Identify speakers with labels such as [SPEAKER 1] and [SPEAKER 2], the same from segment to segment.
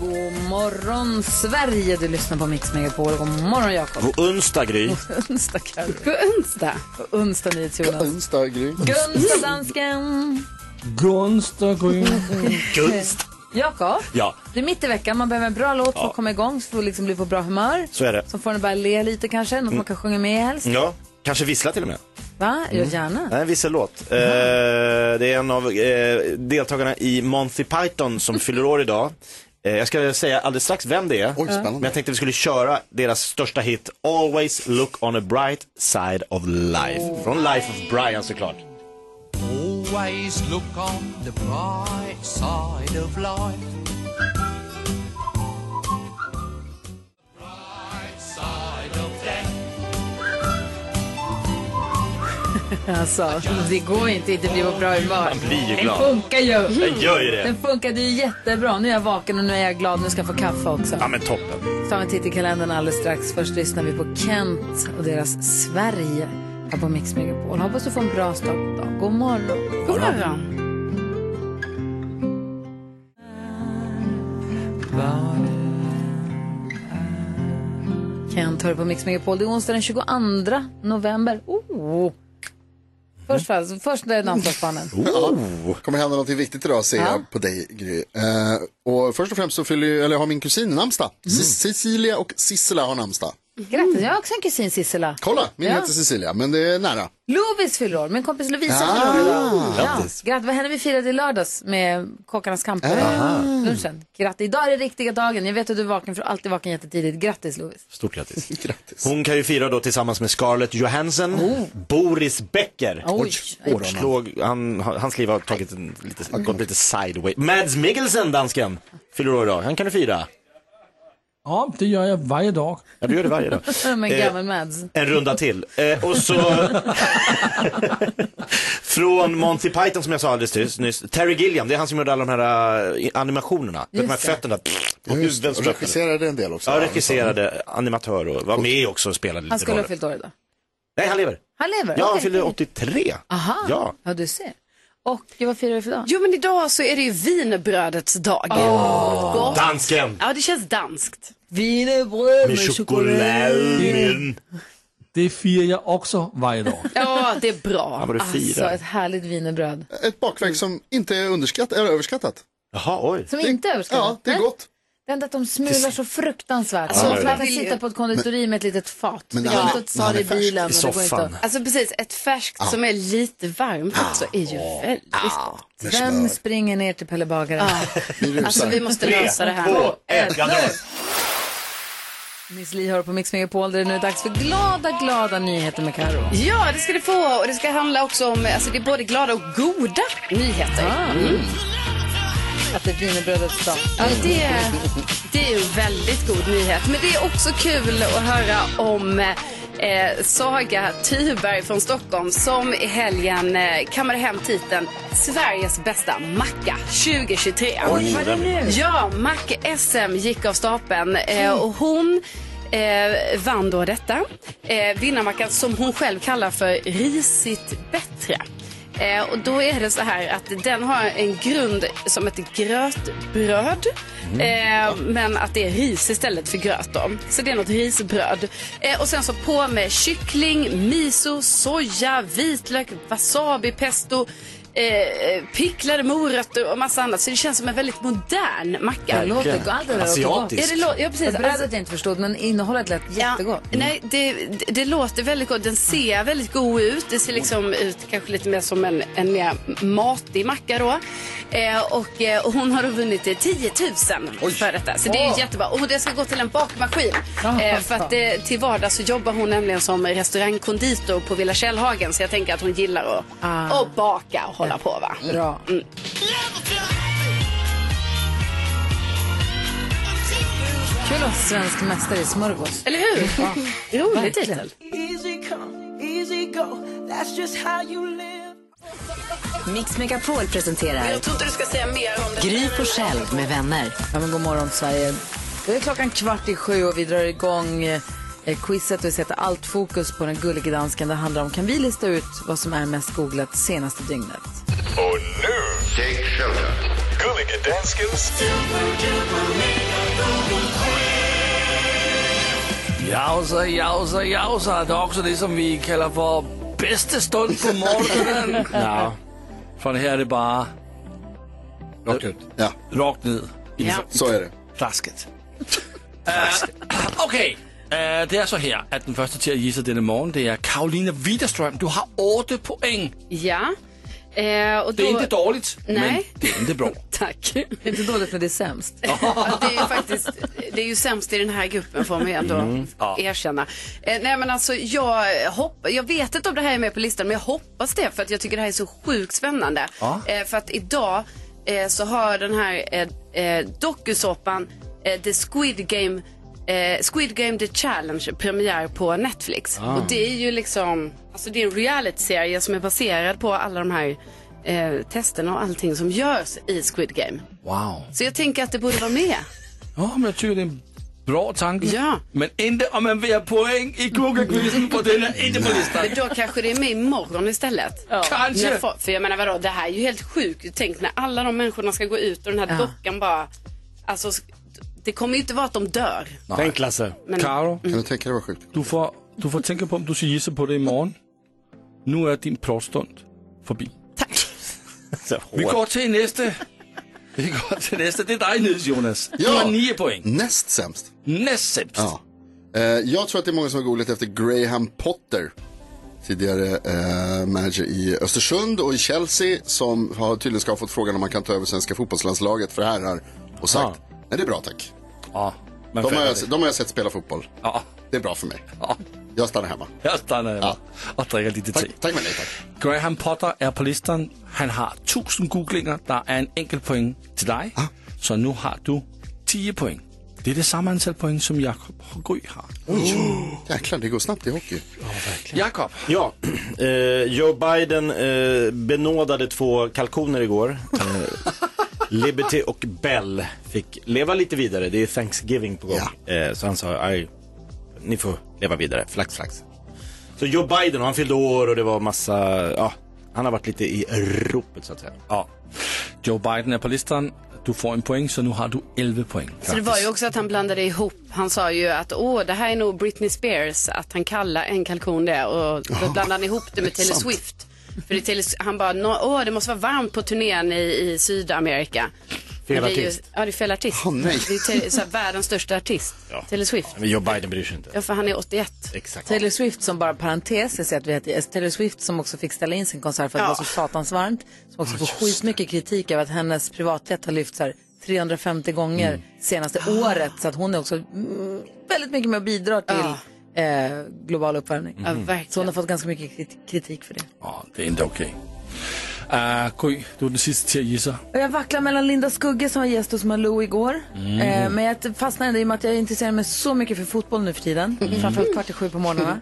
[SPEAKER 1] God morgon Sverige, du lyssnar på Mix Megapol. God morgon Jakob.
[SPEAKER 2] God onsdag Gry.
[SPEAKER 1] Onsdag Carro. God onsdag. God onsdag NyhetsJonas. God
[SPEAKER 3] Onsdag, Gry.
[SPEAKER 1] onsdag dansken.
[SPEAKER 2] Mm. Gunst.
[SPEAKER 1] Jakob,
[SPEAKER 2] Ja,
[SPEAKER 1] du är mitt i veckan. Man behöver en bra låt för att komma igång så får liksom bli på bra humör.
[SPEAKER 2] så är det. Mm.
[SPEAKER 1] Som får en att börja le lite kanske, något man kan sjunga med helst.
[SPEAKER 2] Ja, kanske vissla till och med.
[SPEAKER 1] Va? Ja,
[SPEAKER 2] Mm.
[SPEAKER 1] gärna.
[SPEAKER 2] Nej, en vissellåt. Eh, det är en av eh, deltagarna i Monty Python som fyller år idag. Eh, jag ska säga alldeles strax vem det är.
[SPEAKER 3] Oj, spännande.
[SPEAKER 2] Men jag tänkte vi skulle köra deras största hit Always look on a bright side of life. Från Life of Brian såklart.
[SPEAKER 4] Always look on the bright side of life. Bright side of death.
[SPEAKER 1] Alltså, det går inte inte bli på bra humör.
[SPEAKER 2] Man blir ju
[SPEAKER 1] Den
[SPEAKER 2] glad.
[SPEAKER 1] funkar ju.
[SPEAKER 2] Jag gör ju det.
[SPEAKER 1] Den funkade ju jättebra. Nu är jag vaken och nu är jag glad. Nu ska jag få kaffe också.
[SPEAKER 2] Ja men toppen.
[SPEAKER 1] Så tar vi en titt i kalendern alldeles strax. Först lyssnar vi på Kent och deras Sverige här på Mix Megapol. Hoppas du får en bra start på dagen. God morgon. God morgon. Kent hör på Mix Megapol. Det är onsdag den 22 november. Oh. Först,
[SPEAKER 2] Mm.
[SPEAKER 1] först, först är namnsdagsbarnen.
[SPEAKER 2] Oh.
[SPEAKER 5] kommer hända något viktigt idag ser
[SPEAKER 1] Ja.
[SPEAKER 5] jag på dig Gry. Eh, och först och främst så fyller, ju- eller har min kusin namnsdag.
[SPEAKER 1] Mm.
[SPEAKER 5] Ce- Cecilia och Sissela har namnsdag.
[SPEAKER 1] Grattis, jag har också en kusin Sissela.
[SPEAKER 5] Kolla, min
[SPEAKER 1] Ja.
[SPEAKER 5] heter Cecilia, men det är nära.
[SPEAKER 1] Lovis fyller år. Min kompis Lovisa
[SPEAKER 5] Ah,
[SPEAKER 1] fyller år idag.
[SPEAKER 2] grattis.
[SPEAKER 1] Ja, grattis. Vad hände vi firade i lördags med Kockarnas kamp? Lunchen. Grattis. Idag är det riktiga dagen. Jag vet att du är vaken, för du är alltid vaken jättetidigt. Grattis Lovis.
[SPEAKER 2] Stort grattis.
[SPEAKER 5] Grattis.
[SPEAKER 2] Hon kan ju fira då tillsammans med Scarlett Johansson, Boris Becker.
[SPEAKER 1] Oh. Oj.
[SPEAKER 2] Och slog, han, hans liv har tagit en, lite, gått lite sideways. Mads Mikkelsen, dansken, fyller år idag. Han kan du fira.
[SPEAKER 6] Ja, det gör jag varje dag.
[SPEAKER 2] Ja, du gör det varje dag.
[SPEAKER 1] Men
[SPEAKER 2] Eh,
[SPEAKER 1] gammal Mads.
[SPEAKER 2] En runda till. Eh, och så... Från Monty Python som jag sa alldeles nyss, nyss. Terry Gilliam, det är han som gjorde alla de här eh, animationerna. Vet du, de här
[SPEAKER 1] Just det.
[SPEAKER 2] fötterna och
[SPEAKER 5] Just det,
[SPEAKER 2] huvuden.
[SPEAKER 5] och
[SPEAKER 2] som öppnade.
[SPEAKER 5] regisserade en del också.
[SPEAKER 2] Ja, regisserade animatör och var med också och spelade lite
[SPEAKER 1] Han skulle ha
[SPEAKER 2] roller.
[SPEAKER 1] fyllt år idag.
[SPEAKER 2] Nej, han lever.
[SPEAKER 1] Han lever?
[SPEAKER 2] Ja, han
[SPEAKER 1] Okej.
[SPEAKER 2] fyllde 83.
[SPEAKER 1] Aha.
[SPEAKER 2] Ja.
[SPEAKER 1] ja, du ser. Och vad firar du för dag?
[SPEAKER 7] Jo men idag så är det ju wienerbrödets dag. Gott.
[SPEAKER 2] Dansken!
[SPEAKER 7] Ja det känns danskt.
[SPEAKER 1] Wienerbröd
[SPEAKER 2] Med chokladen.
[SPEAKER 6] Det firar jag också varje dag.
[SPEAKER 7] Ja det är bra.
[SPEAKER 2] Ja, vad du
[SPEAKER 1] Alltså,
[SPEAKER 2] firar.
[SPEAKER 1] ett härligt wienerbröd.
[SPEAKER 5] Ett bakverk som inte är underskattat, eller överskattat.
[SPEAKER 2] Jaha, oj.
[SPEAKER 1] Som inte är överskattat.
[SPEAKER 5] Ja, det är
[SPEAKER 1] Nej.
[SPEAKER 5] gott.
[SPEAKER 1] Det enda att de smular så fruktansvärt.
[SPEAKER 7] Alltså,
[SPEAKER 1] man
[SPEAKER 7] det
[SPEAKER 1] får
[SPEAKER 7] är
[SPEAKER 1] alltid
[SPEAKER 7] det.
[SPEAKER 1] sitta på ett konditori med ett litet fat.
[SPEAKER 5] Men
[SPEAKER 1] det
[SPEAKER 5] när
[SPEAKER 1] går inte
[SPEAKER 5] han är-
[SPEAKER 1] att
[SPEAKER 5] när
[SPEAKER 1] ta
[SPEAKER 5] han
[SPEAKER 1] det i
[SPEAKER 5] är färsk.
[SPEAKER 1] bilen.
[SPEAKER 2] I
[SPEAKER 1] och det går inte
[SPEAKER 2] soffan.
[SPEAKER 1] att-
[SPEAKER 7] Alltså precis, ett färskt som är lite varmt också är ju väldigt gott.
[SPEAKER 1] Vem springer ner till Pelle Bagaren?
[SPEAKER 5] Vi rusar.
[SPEAKER 7] Alltså vi måste lösa det här.
[SPEAKER 2] Två, ett, ja, nu.
[SPEAKER 1] Miss Li hör på Mix Megapol där det nu är dags för glada, glada nyheter med Karo.
[SPEAKER 7] Ja, det ska du få. Och det ska handla också om, alltså det är både glada och goda nyheter. Mm.
[SPEAKER 1] Ah. Att det är wienerbrödets dag.
[SPEAKER 7] Ja, det, det är ju en väldigt god nyhet. Men det är också kul att höra om eh, Saga Thyberg från Stockholm som i helgen eh, kammade hem titeln Sveriges bästa macka 2023.
[SPEAKER 1] Vad är det nu? Mm.
[SPEAKER 7] Ja, Mac-SM gick av stapeln eh, och hon eh, vann då detta. Eh, vinnarmackan som hon själv kallar för risigt bättre. Eh, och då är det så här att den har en grund som ett grötbröd. Eh, men att det är ris istället för gröt då. Så det är något risbröd. Eh, och sen så på med kyckling, miso, soja, vitlök, wasabi, pesto eh, picklade morötter och massa annat. Så det känns som en väldigt modern macka.
[SPEAKER 1] Det låter gott. Allt det där låter gott.
[SPEAKER 2] Asiatiskt.
[SPEAKER 7] Är det lo- ja, precis. Alltså-
[SPEAKER 1] Brödet jag inte förstod, men innehållet lät jättegott.
[SPEAKER 7] Ja, nej, det, det, det låter väldigt gott. Den ser väldigt god ut. Det ser liksom ut kanske lite mer som en, en mer matig macka då. Eh, och, eh, och hon har då vunnit eh, 10 000 för detta. Så det är ju jättebra. Och det ska gå till en bakmaskin.
[SPEAKER 1] Ja,
[SPEAKER 7] Eh, för att eh, till vardags så jobbar hon nämligen som restaurangkonditor på Villa Källhagen. Så jag tänker att hon gillar att
[SPEAKER 1] Ah.
[SPEAKER 7] att baka och hålla på va.
[SPEAKER 1] Bra. Kul att vara svensk mästare i smörgås.
[SPEAKER 7] Eller hur?
[SPEAKER 1] Ja,
[SPEAKER 7] Rolig
[SPEAKER 1] verkligen.
[SPEAKER 7] titel.
[SPEAKER 8] Mix Megapol presenterar
[SPEAKER 7] trodde du skulle säga mer om det.
[SPEAKER 8] Gry på själv med vänner.
[SPEAKER 1] Ja, men god morgon, Sverige. Det är klockan kvart i sju och vi drar igång eh, quizet och vi sätter allt fokus på den gullige dansken. Det handlar om, kan vi lista ut vad som är mest googlat senaste dygnet?
[SPEAKER 9] Och nu, take shelter. Gullige danskens...
[SPEAKER 4] Jausa, jausa, jausa. Det är också det som vi kallar för bästa stund på morgonen. ja, för här är det bara
[SPEAKER 5] Rakt ut. Ja,
[SPEAKER 4] rakt ner i
[SPEAKER 7] Ja.
[SPEAKER 5] så är det.
[SPEAKER 4] plasket. Okej, eh, det är så här att den första till att gissa denna morgon det är Karolina Widerström. Du har åtta poäng.
[SPEAKER 7] Ja. Eh, och då...
[SPEAKER 4] Det är inte dåligt, men
[SPEAKER 7] Nej.
[SPEAKER 4] det är inte bra.
[SPEAKER 7] Tack.
[SPEAKER 1] Det är inte dåligt, men det är sämst.
[SPEAKER 7] Ja, det är ju faktiskt, det är ju sämst i den här gruppen får man ju ändå erkänna. Eh, nej men alltså jag hoppas, jag vet inte om det här är med på listan men jag hoppas det för att jag tycker det här är så sjukt spännande. Eh, för att idag eh, så har den här eh, eh, dokusåpan eh, The Squid Game Eh, Squid Game The Challenge premiär på Netflix. Och det är ju liksom, alltså det är en reality-serie som är baserad på alla de här eh, testerna och allting som görs i Squid Game.
[SPEAKER 4] Wow.
[SPEAKER 7] Så jag tänker att det borde vara med.
[SPEAKER 4] Ja, men jag tycker det är en bra tanke.
[SPEAKER 7] Ja.
[SPEAKER 4] Men inte om man vill ha poäng i Google-quizen på den är inte på listan.
[SPEAKER 7] Men då kanske det är med imorgon istället.
[SPEAKER 4] Kanske.
[SPEAKER 7] När fo- För jag menar vadå, det här är ju helt sjukt. Tänk när alla de människorna ska gå ut och den här
[SPEAKER 1] Ja.
[SPEAKER 7] dockan bara, alltså sk- det kommer ju inte vara att de dör.
[SPEAKER 2] Tänk Lasse.
[SPEAKER 7] Men Mm.
[SPEAKER 4] Karo,
[SPEAKER 5] Kan du tänka dig vad sjukt?
[SPEAKER 4] du får, du får tänka på om du ska gissa på det imorgon. Nu är din pratstund förbi. Vi går till nästa. Vi går till nästa. Alltså, Det är dig Nils Jonas. Du
[SPEAKER 5] Ja.
[SPEAKER 4] har nio poäng.
[SPEAKER 5] Näst sämst.
[SPEAKER 4] Näst sämst.
[SPEAKER 5] Ja. Eh, jag tror att det är många som har googlat efter Graham Potter. Tidigare eh, manager i Östersund och i Chelsea som har tydligen ska ha fått frågan om man kan ta över svenska fotbollslandslaget för herrar och sagt nej det är bra tack.
[SPEAKER 4] Ja, men
[SPEAKER 5] De har,
[SPEAKER 4] färdig.
[SPEAKER 5] jag, de har jag sett spela fotboll.
[SPEAKER 4] Ja,
[SPEAKER 5] Det är bra för mig.
[SPEAKER 4] ja.
[SPEAKER 5] Jag stannar hemma.
[SPEAKER 4] Jag stannar hemma och dricker lite
[SPEAKER 5] Tack,
[SPEAKER 4] te.
[SPEAKER 5] tack men nej tack.
[SPEAKER 4] Graham Potter är på listan. Han har 1000 googlinger. Der er en enkelt point til dig.
[SPEAKER 5] Ah.
[SPEAKER 4] Så nu har du 10 point. Det er det samme antal point, som Jakob og Gry har.
[SPEAKER 5] Jäklar, det går snabbt i hockey.
[SPEAKER 4] Jakob.
[SPEAKER 2] Ja, eh, Joe Biden eh, benådade två kalkoner igår. Eh, Liberty och Bell fick leva lite vidare. Det är Thanksgiving på gång. Eh, så han sa, "Aj, ni får leva vidare. Flax, flax. Så Joe Biden, han fyllde år och det var massa, ja, Øh, han har varit lite i ropet så att säga.
[SPEAKER 4] Ja. Joe Biden er på listan. Du får en point, så nu har du 11 point.
[SPEAKER 7] Så det var ju också att han blandade ihop, han sa ju att åh det här är nog Britney Spears, att han kallar en kalkon det och då blandade han ihop det med Taylor
[SPEAKER 5] sant.
[SPEAKER 7] Swift. För det är Taylor, han bara, "Nå, åh det måste vara varmt på turnén i, i Sydamerika. Men det är ju-
[SPEAKER 2] artist.
[SPEAKER 7] Ja det är fel artist.
[SPEAKER 5] Åh, nej.
[SPEAKER 7] Det är Taylor- så här, världens största artist, Taylor Swift.
[SPEAKER 2] Men Joe Biden bryr sig inte.
[SPEAKER 7] Ja, för han är 81.
[SPEAKER 2] Exakt.
[SPEAKER 1] Taylor Swift som bara parentes, jag säger att vi heter Taylor Swift som också fick ställa in sin konsert för att det
[SPEAKER 7] Ja.
[SPEAKER 1] var så satans varmt. Som också får skitmycket kritik över att hennes privatjet har lyfts här 350 gånger senaste året. Så att hon är också mm, väldigt mycket med och bidrar till eh, global uppvärmning.
[SPEAKER 7] Ja,
[SPEAKER 1] Så hon har
[SPEAKER 7] verkligen.
[SPEAKER 1] fått ganska mycket kriti- kritik för det.
[SPEAKER 4] Ja, det er endda okay. Uh, Gry, du er den sidste til at gisse.
[SPEAKER 1] Och jag vacklar mellan Linda Skugge som var gäst hos Malou igår. Eh, men jag fastnar ändå i och med att jag intresserar mig så mycket för fotboll nu för tiden. Framförallt kvart i sju på morgnarna.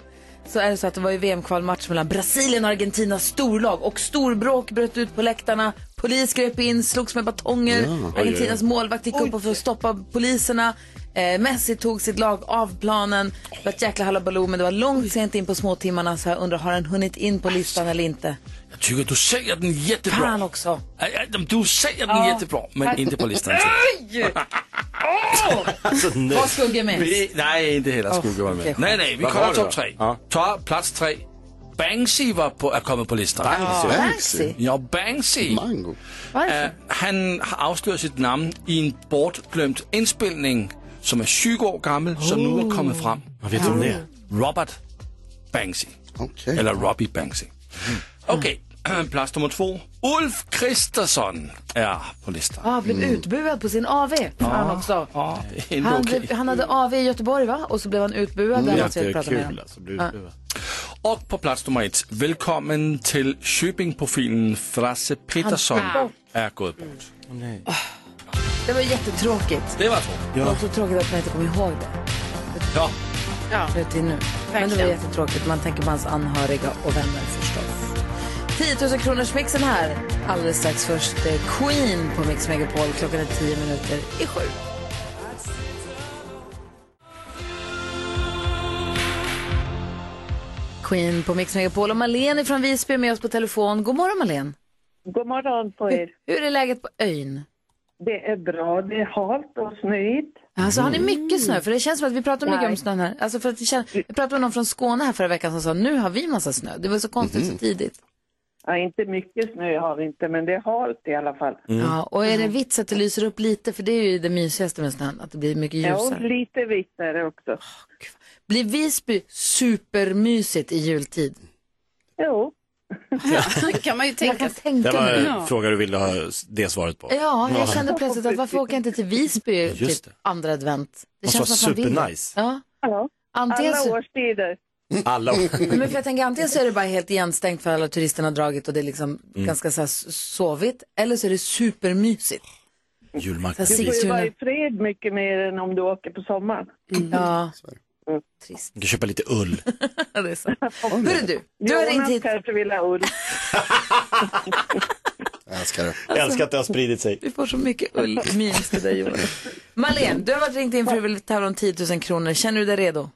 [SPEAKER 1] Så är det så att det var ju VM-kvalmatch mellan Brasilien och Argentina, storlag. Och storbråk bröt ut på läktarna. Polis grep in, slogs med batonger. Argentinas målvakt gick upp för att stoppa poliserna. Eh, Messi tog sitt lag av planen. Det var ett jäkla halabaloo, men det var långt sent in på småtimmarna. Så jag undrar, har den hunnit in på listan eller inte?
[SPEAKER 4] Jeg tykker, du sælger den jättebra.
[SPEAKER 1] Fan också!
[SPEAKER 4] Ej, ej, jamen, Du sælger den jättebra, men ikke på listan.
[SPEAKER 1] Vad skuggar med?
[SPEAKER 4] Vi, nej, inte hela
[SPEAKER 1] Åh,
[SPEAKER 4] Skugge var med.
[SPEAKER 1] okej, skönt.
[SPEAKER 4] nej, nej, vi
[SPEAKER 2] Vad var
[SPEAKER 4] kollar
[SPEAKER 2] det
[SPEAKER 4] topp
[SPEAKER 2] då?
[SPEAKER 4] tre.
[SPEAKER 2] Ja.
[SPEAKER 4] Ta plats tre. Banksy var på, är kommit på listan.
[SPEAKER 5] Banksy.
[SPEAKER 4] Ja, Banksy.
[SPEAKER 5] Mango.
[SPEAKER 4] Äh, han har avslöjat sitt namn i en bortglömd inspelning som är 20 år gammal, som nu har kommit fram.
[SPEAKER 2] Vad vet du om det?
[SPEAKER 4] Robert Banksy.
[SPEAKER 5] Okej.
[SPEAKER 4] Eller Robbie Banksy. Mm. Okej, plats nummer två. Ulf Kristersson är på listan.
[SPEAKER 1] Ah, blev utbuad på sin AV. Han också.
[SPEAKER 4] Mm. Ja, det är ändå
[SPEAKER 1] Han,
[SPEAKER 4] okej. Mm.
[SPEAKER 1] blev, han hade AV i Göteborg va? Och så blev han utbuad. Mm, alltså, jag pratade med
[SPEAKER 2] Jättekul
[SPEAKER 1] honom.
[SPEAKER 2] alltså. Blir du-
[SPEAKER 4] Och på plats nummer ett, välkommen till Köpingprofilen Frasse Peterson
[SPEAKER 7] Han-
[SPEAKER 4] är gått bort.
[SPEAKER 1] Det var jättetråkigt.
[SPEAKER 4] Det var tråkigt.
[SPEAKER 1] Det var så tråkigt att man inte kom ihåg det.
[SPEAKER 4] Ja.
[SPEAKER 7] Ja.
[SPEAKER 1] Till nu. Men det var
[SPEAKER 7] Verkligen.
[SPEAKER 1] jättetråkigt. Man tänker på hans anhöriga och vänner förstås. 10 000 kronors mixen här. Alldeles strax först eh, Queen på Mix Megapol. Klockan är 10 minuter i sju. Queen på Mix Megapol och Malene från Visby är med oss på telefon. God morgon Malene.
[SPEAKER 10] God morgon på er.
[SPEAKER 1] Hur är läget på ön?
[SPEAKER 10] Det är bra. Det är halt och snöigt.
[SPEAKER 1] Alltså har ni
[SPEAKER 2] Mm.
[SPEAKER 1] mycket snö? För det känns som att vi pratar mycket om
[SPEAKER 10] Nej.
[SPEAKER 1] snön här. Alltså för att det känns, vi pratade med någon från Skåne här förra veckan som sa nu har vi massa snö. Det var så konstigt
[SPEAKER 2] Mhm.
[SPEAKER 1] så tidigt.
[SPEAKER 10] Ja, inte mycket snö har vi inte, men det är halt i alla fall.
[SPEAKER 2] Mm.
[SPEAKER 1] Ja, och är det vits att det lyser upp lite? För det är ju det mysigaste med snön, att det blir mycket
[SPEAKER 10] Ja,
[SPEAKER 1] ljusare.
[SPEAKER 10] lite vitt är det också.
[SPEAKER 1] Blir Visby supermysigt i jultid?
[SPEAKER 10] Jo.
[SPEAKER 7] det kan man ju tänka
[SPEAKER 1] Jag kan tänka
[SPEAKER 2] Det var
[SPEAKER 1] mig.
[SPEAKER 2] en fråga du ville ha det svaret på.
[SPEAKER 1] Ja, jag kände plötsligt att varför åker jag inte till Visby typ
[SPEAKER 2] Just det.
[SPEAKER 1] andra advent? Det
[SPEAKER 2] Måste
[SPEAKER 1] känns
[SPEAKER 2] vara
[SPEAKER 1] som att man vill.
[SPEAKER 2] supernice.
[SPEAKER 1] Ja. Antingen
[SPEAKER 10] Alla
[SPEAKER 1] så-
[SPEAKER 10] årstider.
[SPEAKER 2] Alla
[SPEAKER 1] Nej, Men för jag tänker, antingen så är det bara helt igenstängt för alla turisterna har dragit och det är liksom
[SPEAKER 2] Mm.
[SPEAKER 1] ganska så här sovigt. Eller så är det supermysigt.
[SPEAKER 2] Julmarknad.
[SPEAKER 10] Du får ju
[SPEAKER 1] Sigtuna.
[SPEAKER 10] vara i fred mycket mer än om du åker på sommaren.
[SPEAKER 1] Ja. Trist.
[SPEAKER 2] Du kan köpa lite ull.
[SPEAKER 1] det är så. Hörru du, du har ringt
[SPEAKER 10] Jonas
[SPEAKER 1] hit.
[SPEAKER 10] kanske vill ha ull.
[SPEAKER 5] Jag älskar det.
[SPEAKER 2] Jag älskar att det har spridit sig.
[SPEAKER 1] Du Alltså, får så mycket ull i min till dig Jonas. Malene, du har varit ringt in för att du vill tävla om 10 000 kronor. Känner du dig redo?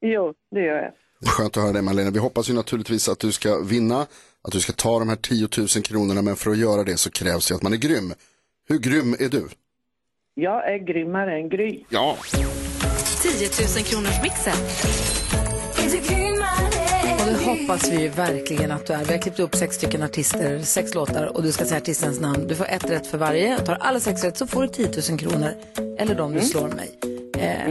[SPEAKER 10] Jo, det gör jag.
[SPEAKER 5] Det är skönt att höra det Malena. Vi hoppas ju naturligtvis att du ska vinna, att du ska ta de här 10 000 kronorna, men för att göra det så krävs det att man är grym. Hur grym är du?
[SPEAKER 10] Jag är grymmare än Gry.
[SPEAKER 5] Ja.
[SPEAKER 8] 10 000 kronors mixen.
[SPEAKER 1] Och det hoppas vi ju verkligen att du är. Vi har klippt upp sex stycken artister, sex låtar och du ska säga artistens namn. Du får ett rätt för varje. Tar alla sex rätt så får du 10 000 kronor. Eller de
[SPEAKER 10] Mm.
[SPEAKER 1] du slår mig. Eh, jag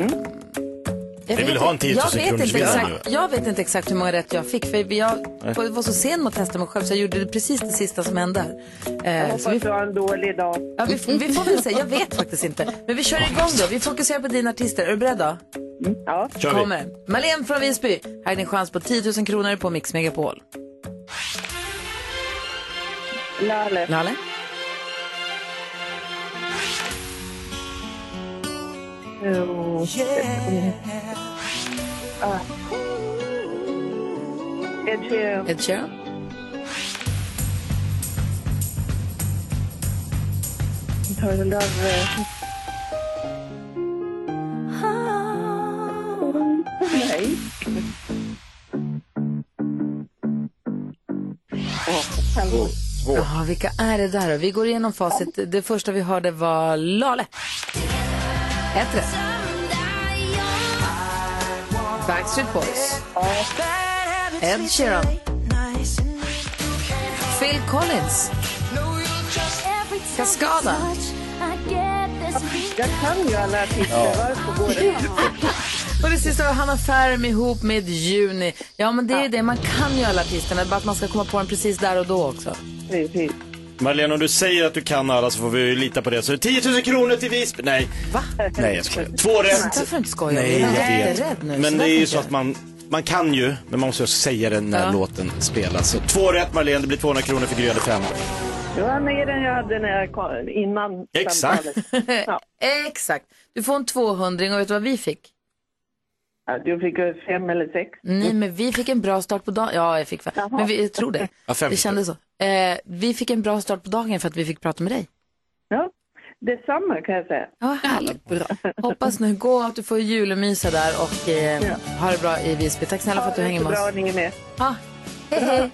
[SPEAKER 2] Vi
[SPEAKER 1] vet
[SPEAKER 2] vill ha en
[SPEAKER 1] inte-
[SPEAKER 2] 10 000
[SPEAKER 1] jag vet,
[SPEAKER 2] kronors
[SPEAKER 1] inte
[SPEAKER 2] vinnare
[SPEAKER 1] exakt, jag vet inte exakt hur många rätt jag fick. För jag
[SPEAKER 2] Nej.
[SPEAKER 1] var var så sen med att testa mig själv så jag gjorde det precis det sista som hände här. Eh,
[SPEAKER 10] Jag
[SPEAKER 1] så vi-
[SPEAKER 10] hoppas du har en dålig dag.
[SPEAKER 1] Ja, vi, f- vi får väl se, jag vet faktiskt inte. Men vi kör igång då, vi fokuserar på dina artister. Är du beredd då?
[SPEAKER 10] Mm. Ja.
[SPEAKER 1] Kör vi. Kommer. Malene från Visby, här är din chans på 10 000 kronor på Mix Megapol.
[SPEAKER 10] Lalle.
[SPEAKER 1] Lalle?
[SPEAKER 10] Jo. Ah. Ed Sheeran.
[SPEAKER 1] Ed Sheeran?
[SPEAKER 10] Turtle Dove. Nej.
[SPEAKER 1] Jaha, vilka är det där då? Vi går igenom facit. Det första vi hörde var Lale. Ett rätt. Backstreet Boys. Ed Sheeran. Phil Collins. Cascada.
[SPEAKER 10] Jag kan ju alla
[SPEAKER 1] Oh.
[SPEAKER 10] artister. Varför går det?
[SPEAKER 1] Och det sista var Hanna Färm ihop med Juni. Ja, men det är ju det. Man kan ju alla artisterna. Bara att man ska komma på dem precis där och då också.
[SPEAKER 10] Precis.
[SPEAKER 2] Marlene, om du säger att du kan alla så får vi ju lita på det. Så 10 000 kronor till Visby. Nej.
[SPEAKER 1] Va?
[SPEAKER 2] Nej, jag skojar. Två rätt.
[SPEAKER 1] Varför inte skoja?
[SPEAKER 2] Nej,
[SPEAKER 1] jag
[SPEAKER 2] jag
[SPEAKER 1] är
[SPEAKER 2] vet.
[SPEAKER 1] jätterädd nu.
[SPEAKER 2] Men
[SPEAKER 1] där
[SPEAKER 2] det är ju
[SPEAKER 1] tänker
[SPEAKER 2] så att man, man kan ju, men man måste också säga det när
[SPEAKER 1] Ja.
[SPEAKER 2] låten spelas. Så två rätt Marlene, det blir 200 kronor för Gry hade fem.
[SPEAKER 10] Det var mer än jag hade när jag kom, innan
[SPEAKER 2] Exakt.
[SPEAKER 10] samtalet. Ja.
[SPEAKER 1] jag. Exakt. Du får en 200 och vet du vad vi fick?
[SPEAKER 10] Ja, Du fick ju fem eller sex.
[SPEAKER 1] Nej, men vi fick en bra start på dagen. Ja, jag fick fem. Men vi, jag tror det.
[SPEAKER 10] Ja, fem
[SPEAKER 1] det
[SPEAKER 10] fick
[SPEAKER 1] kändes så. Eh, vi fick en bra start på dagen för att vi fick prata med dig.
[SPEAKER 10] Ja, detsamma kan jag säga.
[SPEAKER 1] Ja, härligt. Bra. Hoppas nu gå att du får julemysa där och eh, ha det bra i Visby. Tack snälla för att du hänger med
[SPEAKER 10] Bra,
[SPEAKER 1] oss.
[SPEAKER 10] ni är med.
[SPEAKER 1] Ja, hej, hej.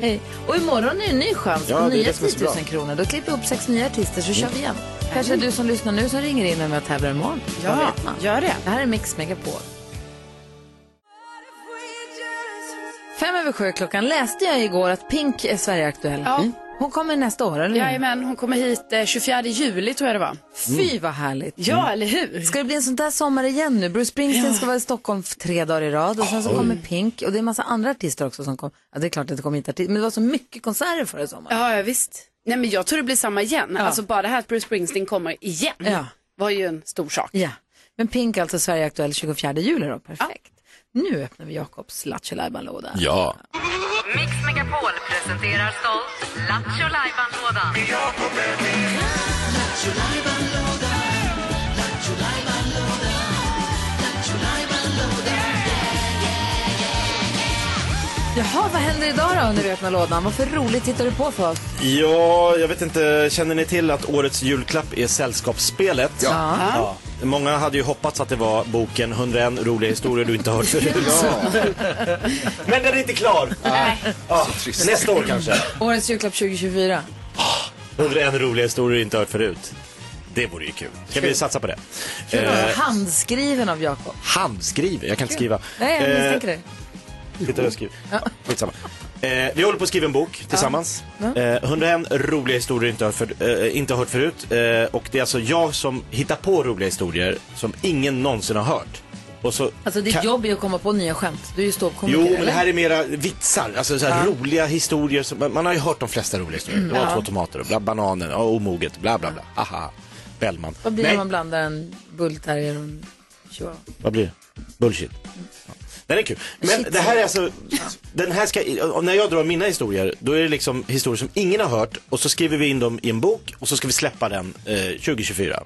[SPEAKER 10] Hej.
[SPEAKER 1] Och imorgon är det en ny chans
[SPEAKER 10] Ja,
[SPEAKER 1] på
[SPEAKER 10] det är
[SPEAKER 1] nya
[SPEAKER 10] det som
[SPEAKER 1] 10
[SPEAKER 10] är så
[SPEAKER 1] 000
[SPEAKER 10] bra.
[SPEAKER 1] kronor. Då klipper vi upp sex nya artister så kör vi igen.
[SPEAKER 10] Mm.
[SPEAKER 1] Kanske är det du som lyssnar nu som ringer in och är med och tävlar imorgon.
[SPEAKER 7] Ja,
[SPEAKER 1] gör det. Det här är Mix Megapol. Fem över sju klockan läste jag igår att Pink är Sverigeaktuell.
[SPEAKER 7] Ja.
[SPEAKER 1] Mm. Hon kommer nästa år, eller hur? Mm.
[SPEAKER 7] Jajamän, hon kommer hit eh, 24 juli tror jag det var.
[SPEAKER 1] Fy vad härligt. Mm.
[SPEAKER 7] Ja, eller hur?
[SPEAKER 1] Ska det bli en sån där sommar igen nu? Bruce Springsteen ska vara i Stockholm f- tre dagar i rad och sen så
[SPEAKER 7] Oj.
[SPEAKER 1] kommer Pink och det är en massa andra artister också som kommer. Ja, det är klart att det kommer hit artister, men det var så mycket konserter förra sommaren.
[SPEAKER 7] Ja, ja, visst. Nej, men jag tror det blir samma igen.
[SPEAKER 1] Ja.
[SPEAKER 7] Alltså bara det här att Bruce Springsteen kommer igen
[SPEAKER 1] Ja.
[SPEAKER 7] var ju en stor sak.
[SPEAKER 1] Ja, men Pink är alltså Sverigeaktuell 24 juli då, perfekt. Nu öppnar vi Jakobs Lattjo-lajban-låda.
[SPEAKER 4] Ja.
[SPEAKER 8] Mix Megapol presenterar stolt Lattjo Lajban-lådan.
[SPEAKER 1] Jaha, vad händer idag då när du öppnar lådan? Vad för roligt tittar du på för oss?
[SPEAKER 2] Ja, jag vet inte. Känner ni till att årets julklapp är Sällskapsspelet?
[SPEAKER 1] Ja. Ja.
[SPEAKER 2] Många hade ju hoppats att det var boken 101 roliga historier du inte hört förut. Men den är inte klar. Ja, nästa år kanske.
[SPEAKER 1] Årets julklapp 2024.
[SPEAKER 2] 101 roliga historier du inte hört förut. Det vore ju kul. Ska vi satsa på det?
[SPEAKER 1] Kul att vara
[SPEAKER 2] Eh,
[SPEAKER 1] handskriven av Jakob.
[SPEAKER 2] handskriven? Jag kan inte skriva.
[SPEAKER 1] Nej, jag
[SPEAKER 2] Eh,
[SPEAKER 1] misstänker det.
[SPEAKER 2] Titta, jag skriver. Skitsamma. Eh, vi håller på att skriva en bok tillsammans. Eh, 101 roliga historier inte hört, för, eh, inte hört förut. Eh, och det är alltså jag som hittar på roliga historier som ingen någonsin har hört. Och så
[SPEAKER 1] Alltså ditt
[SPEAKER 2] kan-
[SPEAKER 1] jobb är ju att komma på nya skämt. Du är ju ståuppkomiker,
[SPEAKER 2] Jo, men det
[SPEAKER 1] eller?
[SPEAKER 2] här är mera vitsar. Alltså så här roliga historier. Som, man- man har ju hört de flesta roliga historier.
[SPEAKER 1] Mm,
[SPEAKER 2] det var
[SPEAKER 1] ja.
[SPEAKER 2] två tomater och bla, bananer och omoget. Bla, bla, bla. Aha. Bellman.
[SPEAKER 1] Vad blir det
[SPEAKER 2] Nej,
[SPEAKER 1] när man blandar en bullterrier och en chihuahua?
[SPEAKER 2] vad blir det? Bullshit. Ja. Den är kul. Men det här är alltså, den här ska, och när jag drar mina historier, då är det liksom historier som ingen har hört och så skriver vi in dem i en bok och så ska vi släppa den eh, 2024.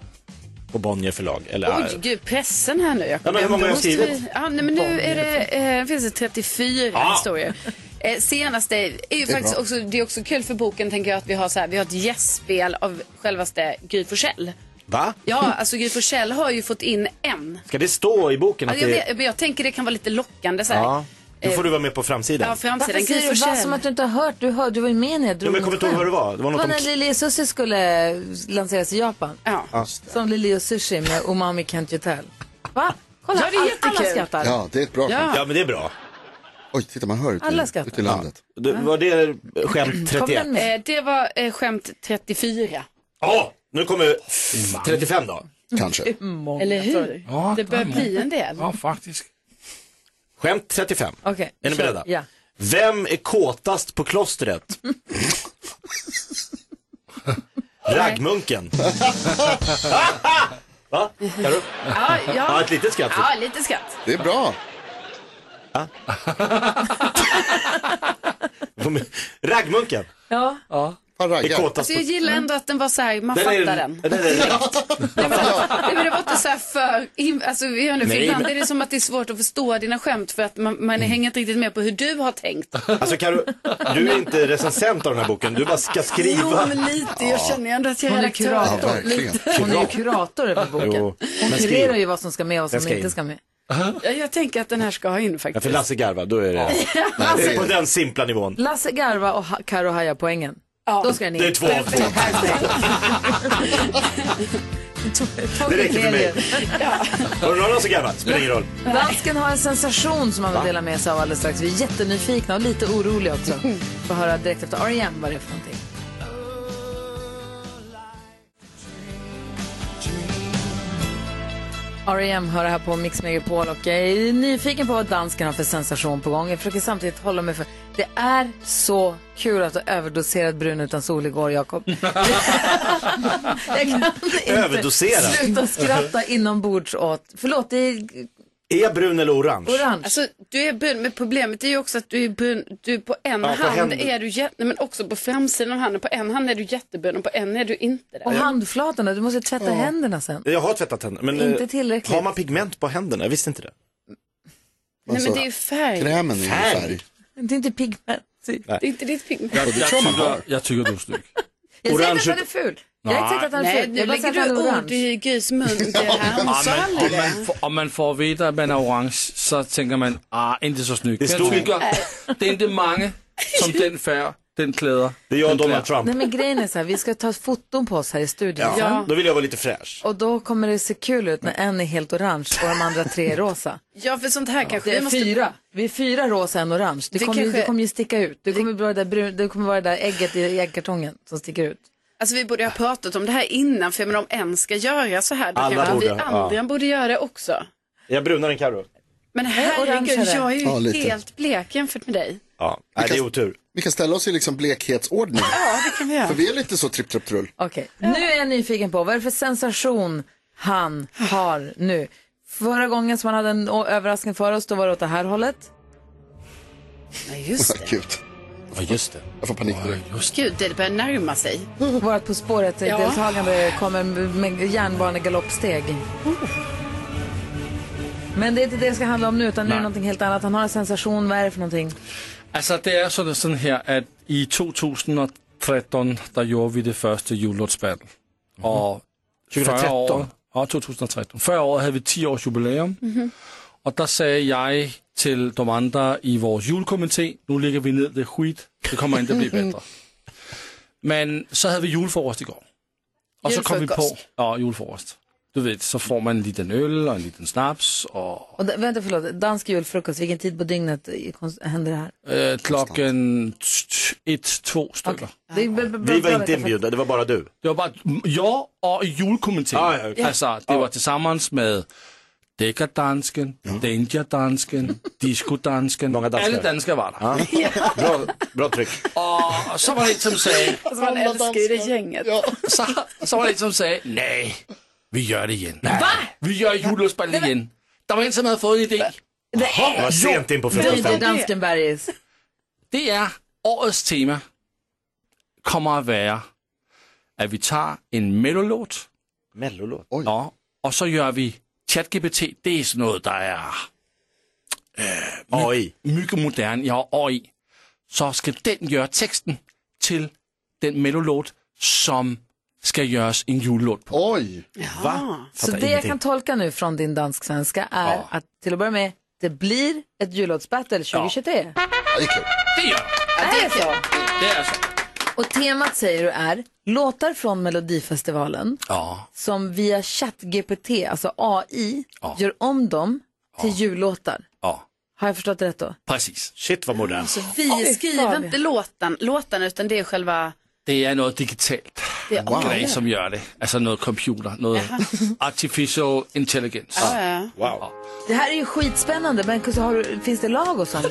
[SPEAKER 2] På Bonnier förlag. Eller,
[SPEAKER 7] Oj, gud, pressen här nu. Jakob.
[SPEAKER 2] Ja, men hur många har jag
[SPEAKER 7] Måste
[SPEAKER 2] skrivit?
[SPEAKER 7] vi- Ja, nej, men nu är det, eh, finns det 34
[SPEAKER 2] Ja.
[SPEAKER 7] historier. Eh, senaste är ju
[SPEAKER 2] Det är
[SPEAKER 7] faktiskt
[SPEAKER 2] bra.
[SPEAKER 7] också, det är också kul för boken tänker jag att vi har så här, vi har ett gästspel av självaste Gry Forssell.
[SPEAKER 2] Va?
[SPEAKER 7] Ja, alltså Gry Forssell har ju fått in en.
[SPEAKER 2] Ska det stå i boken
[SPEAKER 7] Ja,
[SPEAKER 2] att
[SPEAKER 7] jag,
[SPEAKER 2] det
[SPEAKER 7] vet, men jag tänker det kan vara lite lockande så här. Eh,
[SPEAKER 2] Ja. Då får du vara med på
[SPEAKER 7] Ja,
[SPEAKER 2] framsidan.
[SPEAKER 7] framsidan.
[SPEAKER 1] Varför
[SPEAKER 7] Gry
[SPEAKER 1] säger du va
[SPEAKER 7] Forssell.
[SPEAKER 1] som att du inte har hört? Du, hör, du var ju med när jag drog
[SPEAKER 2] men jag kommer
[SPEAKER 1] mitt
[SPEAKER 2] inte ihåg
[SPEAKER 1] skämt.
[SPEAKER 2] vad det var. Det var något om-
[SPEAKER 1] när Lili och Susie skulle lanseras i Japan.
[SPEAKER 2] Ja.
[SPEAKER 1] Som Lili och Sushi med Umami Can't You Tell. Va? Kolla,
[SPEAKER 7] Ja, det är
[SPEAKER 1] alla- alla
[SPEAKER 7] jättekul.
[SPEAKER 1] skrattar.
[SPEAKER 5] Ja, det är ett bra
[SPEAKER 1] Ja.
[SPEAKER 5] skämt.
[SPEAKER 2] Ja, men det är bra.
[SPEAKER 5] Oj, titta man hör
[SPEAKER 7] Alla
[SPEAKER 5] ute,
[SPEAKER 7] skrattar.
[SPEAKER 5] ute i landet.
[SPEAKER 2] Det, var det skämt
[SPEAKER 7] Eh, det var eh, skämt 34.
[SPEAKER 2] Ja, nu kommer 35 då.
[SPEAKER 5] Kanske.
[SPEAKER 7] Eller hur?
[SPEAKER 4] Ja,
[SPEAKER 7] det börjar
[SPEAKER 4] det är
[SPEAKER 7] bli
[SPEAKER 4] många.
[SPEAKER 7] en del.
[SPEAKER 4] Ja, faktiskt.
[SPEAKER 2] Skämt 35.
[SPEAKER 1] Okej.
[SPEAKER 2] Är ni
[SPEAKER 1] kör.
[SPEAKER 2] beredda?
[SPEAKER 1] Ja.
[SPEAKER 2] Vem är kåtast på klostret? Raggmunken. Va? Kan du?
[SPEAKER 7] Ja, ja.
[SPEAKER 2] ja, ett litet skratt.
[SPEAKER 7] Ja, lite skratt.
[SPEAKER 5] Det är bra.
[SPEAKER 2] Raggmunken.
[SPEAKER 1] Ja.
[SPEAKER 4] Ja.
[SPEAKER 2] Är kåtast
[SPEAKER 7] Alltså
[SPEAKER 2] på...
[SPEAKER 7] jag gillar ändå att den var så här, man
[SPEAKER 2] Den är-
[SPEAKER 7] fattar den.
[SPEAKER 2] den är-
[SPEAKER 7] Nej, men det var inte så här för, in- alltså vi gör nu, för
[SPEAKER 2] Nej,
[SPEAKER 7] ibland
[SPEAKER 2] men-
[SPEAKER 7] är det som att det är svårt att förstå dina skämt för att man, man hänger inte riktigt med på hur du har tänkt.
[SPEAKER 2] Alltså Karo, du är inte recensent av den här boken. Du bara ska skriva.
[SPEAKER 7] Jo, men lite, jag känner ju ändå att jag är
[SPEAKER 1] Hon är
[SPEAKER 7] redaktör.
[SPEAKER 1] kurator. Lite. Hon är ju kurator över boken.
[SPEAKER 2] Jo,
[SPEAKER 1] Hon
[SPEAKER 2] men skriv.
[SPEAKER 1] kurerar ju vad som ska med och vad
[SPEAKER 2] Den
[SPEAKER 1] som
[SPEAKER 2] ska
[SPEAKER 1] inte
[SPEAKER 2] in.
[SPEAKER 1] ska med.
[SPEAKER 7] Ja, Jag tänker att den här ska ha in
[SPEAKER 2] Ja, för
[SPEAKER 7] faktiskt.
[SPEAKER 2] Lasse garvar, då är det...
[SPEAKER 1] Lasse-
[SPEAKER 2] Det är på den simpla nivån.
[SPEAKER 1] Lasse Garva och Ha- Karo Haja poängen. Då ska den in.
[SPEAKER 2] Det är två av två. Det räcker för mig. Har du någon som garvar? Spelar ingen roll.
[SPEAKER 1] Dansken har en sensation som han vill dela med sig av alldeles strax. Vi är jättenyfikna och lite oroliga också. Får höra direkt efter R.E.M. vad det är för någonting. R.E.M. E hör här på Mix Megapol och jag är nyfiken på vad dansken har för sensation på gång. Jag försöker samtidigt hålla mig för... Det är så kul att du har överdoserat brun utan sol igår, Jakob. jag kan inte
[SPEAKER 2] Överdoserat?
[SPEAKER 1] sluta skratta inombords åt... Förlåt, det är
[SPEAKER 2] Är jag brun eller orange?
[SPEAKER 1] orange.
[SPEAKER 7] Alltså, du är brun, men problemet är ju också att du är brun, du på en
[SPEAKER 2] Ja, på
[SPEAKER 7] hand
[SPEAKER 2] händer.
[SPEAKER 7] är du jätte, nej, men också på framsidan av handen, på en hand är du jättebrun och på en är du inte det.
[SPEAKER 1] Och handflatorna, du måste tvätta händerna sen.
[SPEAKER 2] Jag har tvättat tänderna. Men
[SPEAKER 1] Inte
[SPEAKER 2] eh,
[SPEAKER 1] tillräckligt.
[SPEAKER 2] Har man pigment på händerna? Jag visste inte det.
[SPEAKER 7] Nej
[SPEAKER 2] Alltså,
[SPEAKER 7] men det är ju färg.
[SPEAKER 5] Krämen är ju
[SPEAKER 2] Färg.
[SPEAKER 5] färg.
[SPEAKER 1] Men Det är inte pigment.
[SPEAKER 2] Nej.
[SPEAKER 7] Det är inte ditt pigment.
[SPEAKER 4] Jag,
[SPEAKER 5] det
[SPEAKER 4] jag,
[SPEAKER 5] tror man
[SPEAKER 2] alltså,
[SPEAKER 4] tycker,
[SPEAKER 5] har.
[SPEAKER 4] jag tycker du är snygg.
[SPEAKER 1] Jag säger inte att
[SPEAKER 4] Orange-
[SPEAKER 1] han är ful. Jag har inte sagt att han är
[SPEAKER 7] Nej,
[SPEAKER 1] ful.
[SPEAKER 7] nu
[SPEAKER 1] Jag har bara
[SPEAKER 7] lägger
[SPEAKER 1] sagt att
[SPEAKER 7] du
[SPEAKER 1] han är
[SPEAKER 7] ord
[SPEAKER 1] orange.
[SPEAKER 7] i Gys mun. Det här
[SPEAKER 4] Ja,
[SPEAKER 7] hon sa
[SPEAKER 4] men
[SPEAKER 7] aldrig
[SPEAKER 4] om,
[SPEAKER 7] det.
[SPEAKER 4] man får, om man får veta att man är orange så tänker man, ah, inte så snygg.
[SPEAKER 2] Det
[SPEAKER 4] Men jag
[SPEAKER 2] stod-
[SPEAKER 4] tycker, det är inte många som den färg, den kläder.
[SPEAKER 2] Det är jag och
[SPEAKER 4] den
[SPEAKER 2] Donald
[SPEAKER 4] klär.
[SPEAKER 2] Trump.
[SPEAKER 1] Nej men grejen är så här, vi ska ta foton på oss här i studion.
[SPEAKER 2] Ja.
[SPEAKER 1] Ja.
[SPEAKER 2] Då vill jag vara lite fräsch.
[SPEAKER 1] Och då kommer det se kul ut när en är helt orange och de andra tre är rosa.
[SPEAKER 7] Ja, för sånt här kanske
[SPEAKER 1] Det
[SPEAKER 7] vi
[SPEAKER 1] är
[SPEAKER 7] måste...
[SPEAKER 1] fyra. Vi är fyra rosa, en orange. Det,
[SPEAKER 7] Det
[SPEAKER 1] kommer, ju-
[SPEAKER 7] kanske-
[SPEAKER 1] det kommer ju sticka ut. Det kommer, vara det, där brun, det kommer vara det där ägget i äggkartongen som sticker ut.
[SPEAKER 7] Alltså vi borde ha pratat om det här innan, för jag menar om en ska göra så här, då
[SPEAKER 2] Alla
[SPEAKER 7] kanske vi
[SPEAKER 2] borde,
[SPEAKER 7] andra
[SPEAKER 2] ja.
[SPEAKER 7] borde göra det också.
[SPEAKER 2] Jag är brunare än Karo.
[SPEAKER 7] Men
[SPEAKER 1] orange är
[SPEAKER 7] herregud,
[SPEAKER 1] det.
[SPEAKER 7] jag är ju
[SPEAKER 5] Ja, lite.
[SPEAKER 7] helt blek jämfört med dig.
[SPEAKER 2] Ja. Nej, det är otur.
[SPEAKER 5] Vi kan ställa oss i liksom blekhetsordning.
[SPEAKER 7] Ja, det kan vi
[SPEAKER 5] För
[SPEAKER 7] göra.
[SPEAKER 5] vi är lite så tripp, trapp, trull.
[SPEAKER 1] Okej, nu är jag nyfiken på vad är det för sensation han har nu? Förra gången som han hade en å- överraskning för oss, då var det åt det här hållet.
[SPEAKER 7] Nej, just det.
[SPEAKER 5] Gud,
[SPEAKER 2] Ja, just det.
[SPEAKER 5] jag får panik.
[SPEAKER 7] Gud, det börjar närma sig.
[SPEAKER 1] Vårt På spåret-deltagande kommer med järnbanegaloppsteg. Men det är inte det det ska handla om nu, utan nu är det någonting helt annat. Han har en sensation, vad är det för någonting?
[SPEAKER 4] Altså, det er sådan, sådan her, at i 2013, der gjorde vi det første julelotsbattle.
[SPEAKER 2] Mhm.
[SPEAKER 4] Og
[SPEAKER 2] 2013?
[SPEAKER 4] 40 år, ja, 2013. 40 år havde vi 10 års jubilæum.
[SPEAKER 11] Mhm.
[SPEAKER 4] Og der sagde jeg til de andre i vores julekomité, nu ligger vi ned det skit, det kommer inte att bli bättre. Men så havde vi julefrokost i går. Og så kom vi på,
[SPEAKER 1] Julefrokost.
[SPEAKER 4] ja, julefrokost. Du ved, så får man en liten øl och en liten snaps och
[SPEAKER 1] Och d- vänta, förlåt. Dansk julfrukost, vilken tid på dygnet i konst- händer det här?
[SPEAKER 4] eh, klokken t- t- ett, två stycken.
[SPEAKER 1] Det är b- b-
[SPEAKER 2] Vi var
[SPEAKER 1] bra
[SPEAKER 2] inte
[SPEAKER 1] vecka,
[SPEAKER 2] inbjudna, det var bara du.
[SPEAKER 4] Det var bara jag och julkommittén.
[SPEAKER 2] Ah, ja, okej.
[SPEAKER 4] Alltså, det var tillsammans med Deckardansken, Dangerdansken, Discodansken. Många
[SPEAKER 2] danskar.
[SPEAKER 4] Alla danskar var där.
[SPEAKER 2] Ah. Bra, bra tryck.
[SPEAKER 4] Och så var det en som sa,
[SPEAKER 7] Alltså, man älskar ju det gänget.
[SPEAKER 4] Så, så var det en som sa, nej, vi gör det igen. Va? Vi gör jullustballen igen. Det var en som hade fått en idé.
[SPEAKER 2] Det var sent in på
[SPEAKER 1] Det är inte
[SPEAKER 2] frukosten.
[SPEAKER 1] dansken Bergis.
[SPEAKER 4] Det är årets tema kommer att vara att vi tar en mellolåt.
[SPEAKER 2] Mellolåt?
[SPEAKER 4] Ja, och så gör vi ChatGPT. Det är sådan något där är øh,
[SPEAKER 2] AI.
[SPEAKER 4] mycket modern. Ja, AI. Så ska den göra texten till den mellolåt som ska göras en jullåt på.
[SPEAKER 5] Oj!
[SPEAKER 4] Va?
[SPEAKER 2] Ah.
[SPEAKER 1] Så det jag kan tolka nu från din dansk-svenska är
[SPEAKER 4] Ja.
[SPEAKER 1] att till att börja med, det blir ett jullåtsbattle 2023.
[SPEAKER 4] Det gör
[SPEAKER 1] Är det så?
[SPEAKER 4] Det är så.
[SPEAKER 1] Och temat säger du är låtar från Melodifestivalen
[SPEAKER 4] Ja.
[SPEAKER 1] som via ChatGPT, alltså AI, gör om dem till jullåtar.
[SPEAKER 4] Ja.
[SPEAKER 1] Har jag förstått det rätt då?
[SPEAKER 4] Precis.
[SPEAKER 2] Shit vad modern.
[SPEAKER 7] Vi
[SPEAKER 1] Oj,
[SPEAKER 7] skriver
[SPEAKER 1] fan.
[SPEAKER 7] inte låten, låten utan det är själva...
[SPEAKER 4] Det är något digitalt.
[SPEAKER 7] Det är
[SPEAKER 4] Grej som gör det. Alltså något computer, något artificial intelligence.
[SPEAKER 1] Ja, ja.
[SPEAKER 2] Ah. Wow.
[SPEAKER 1] Det här är ju skitspännande, men så har du, finns det lag och sånt?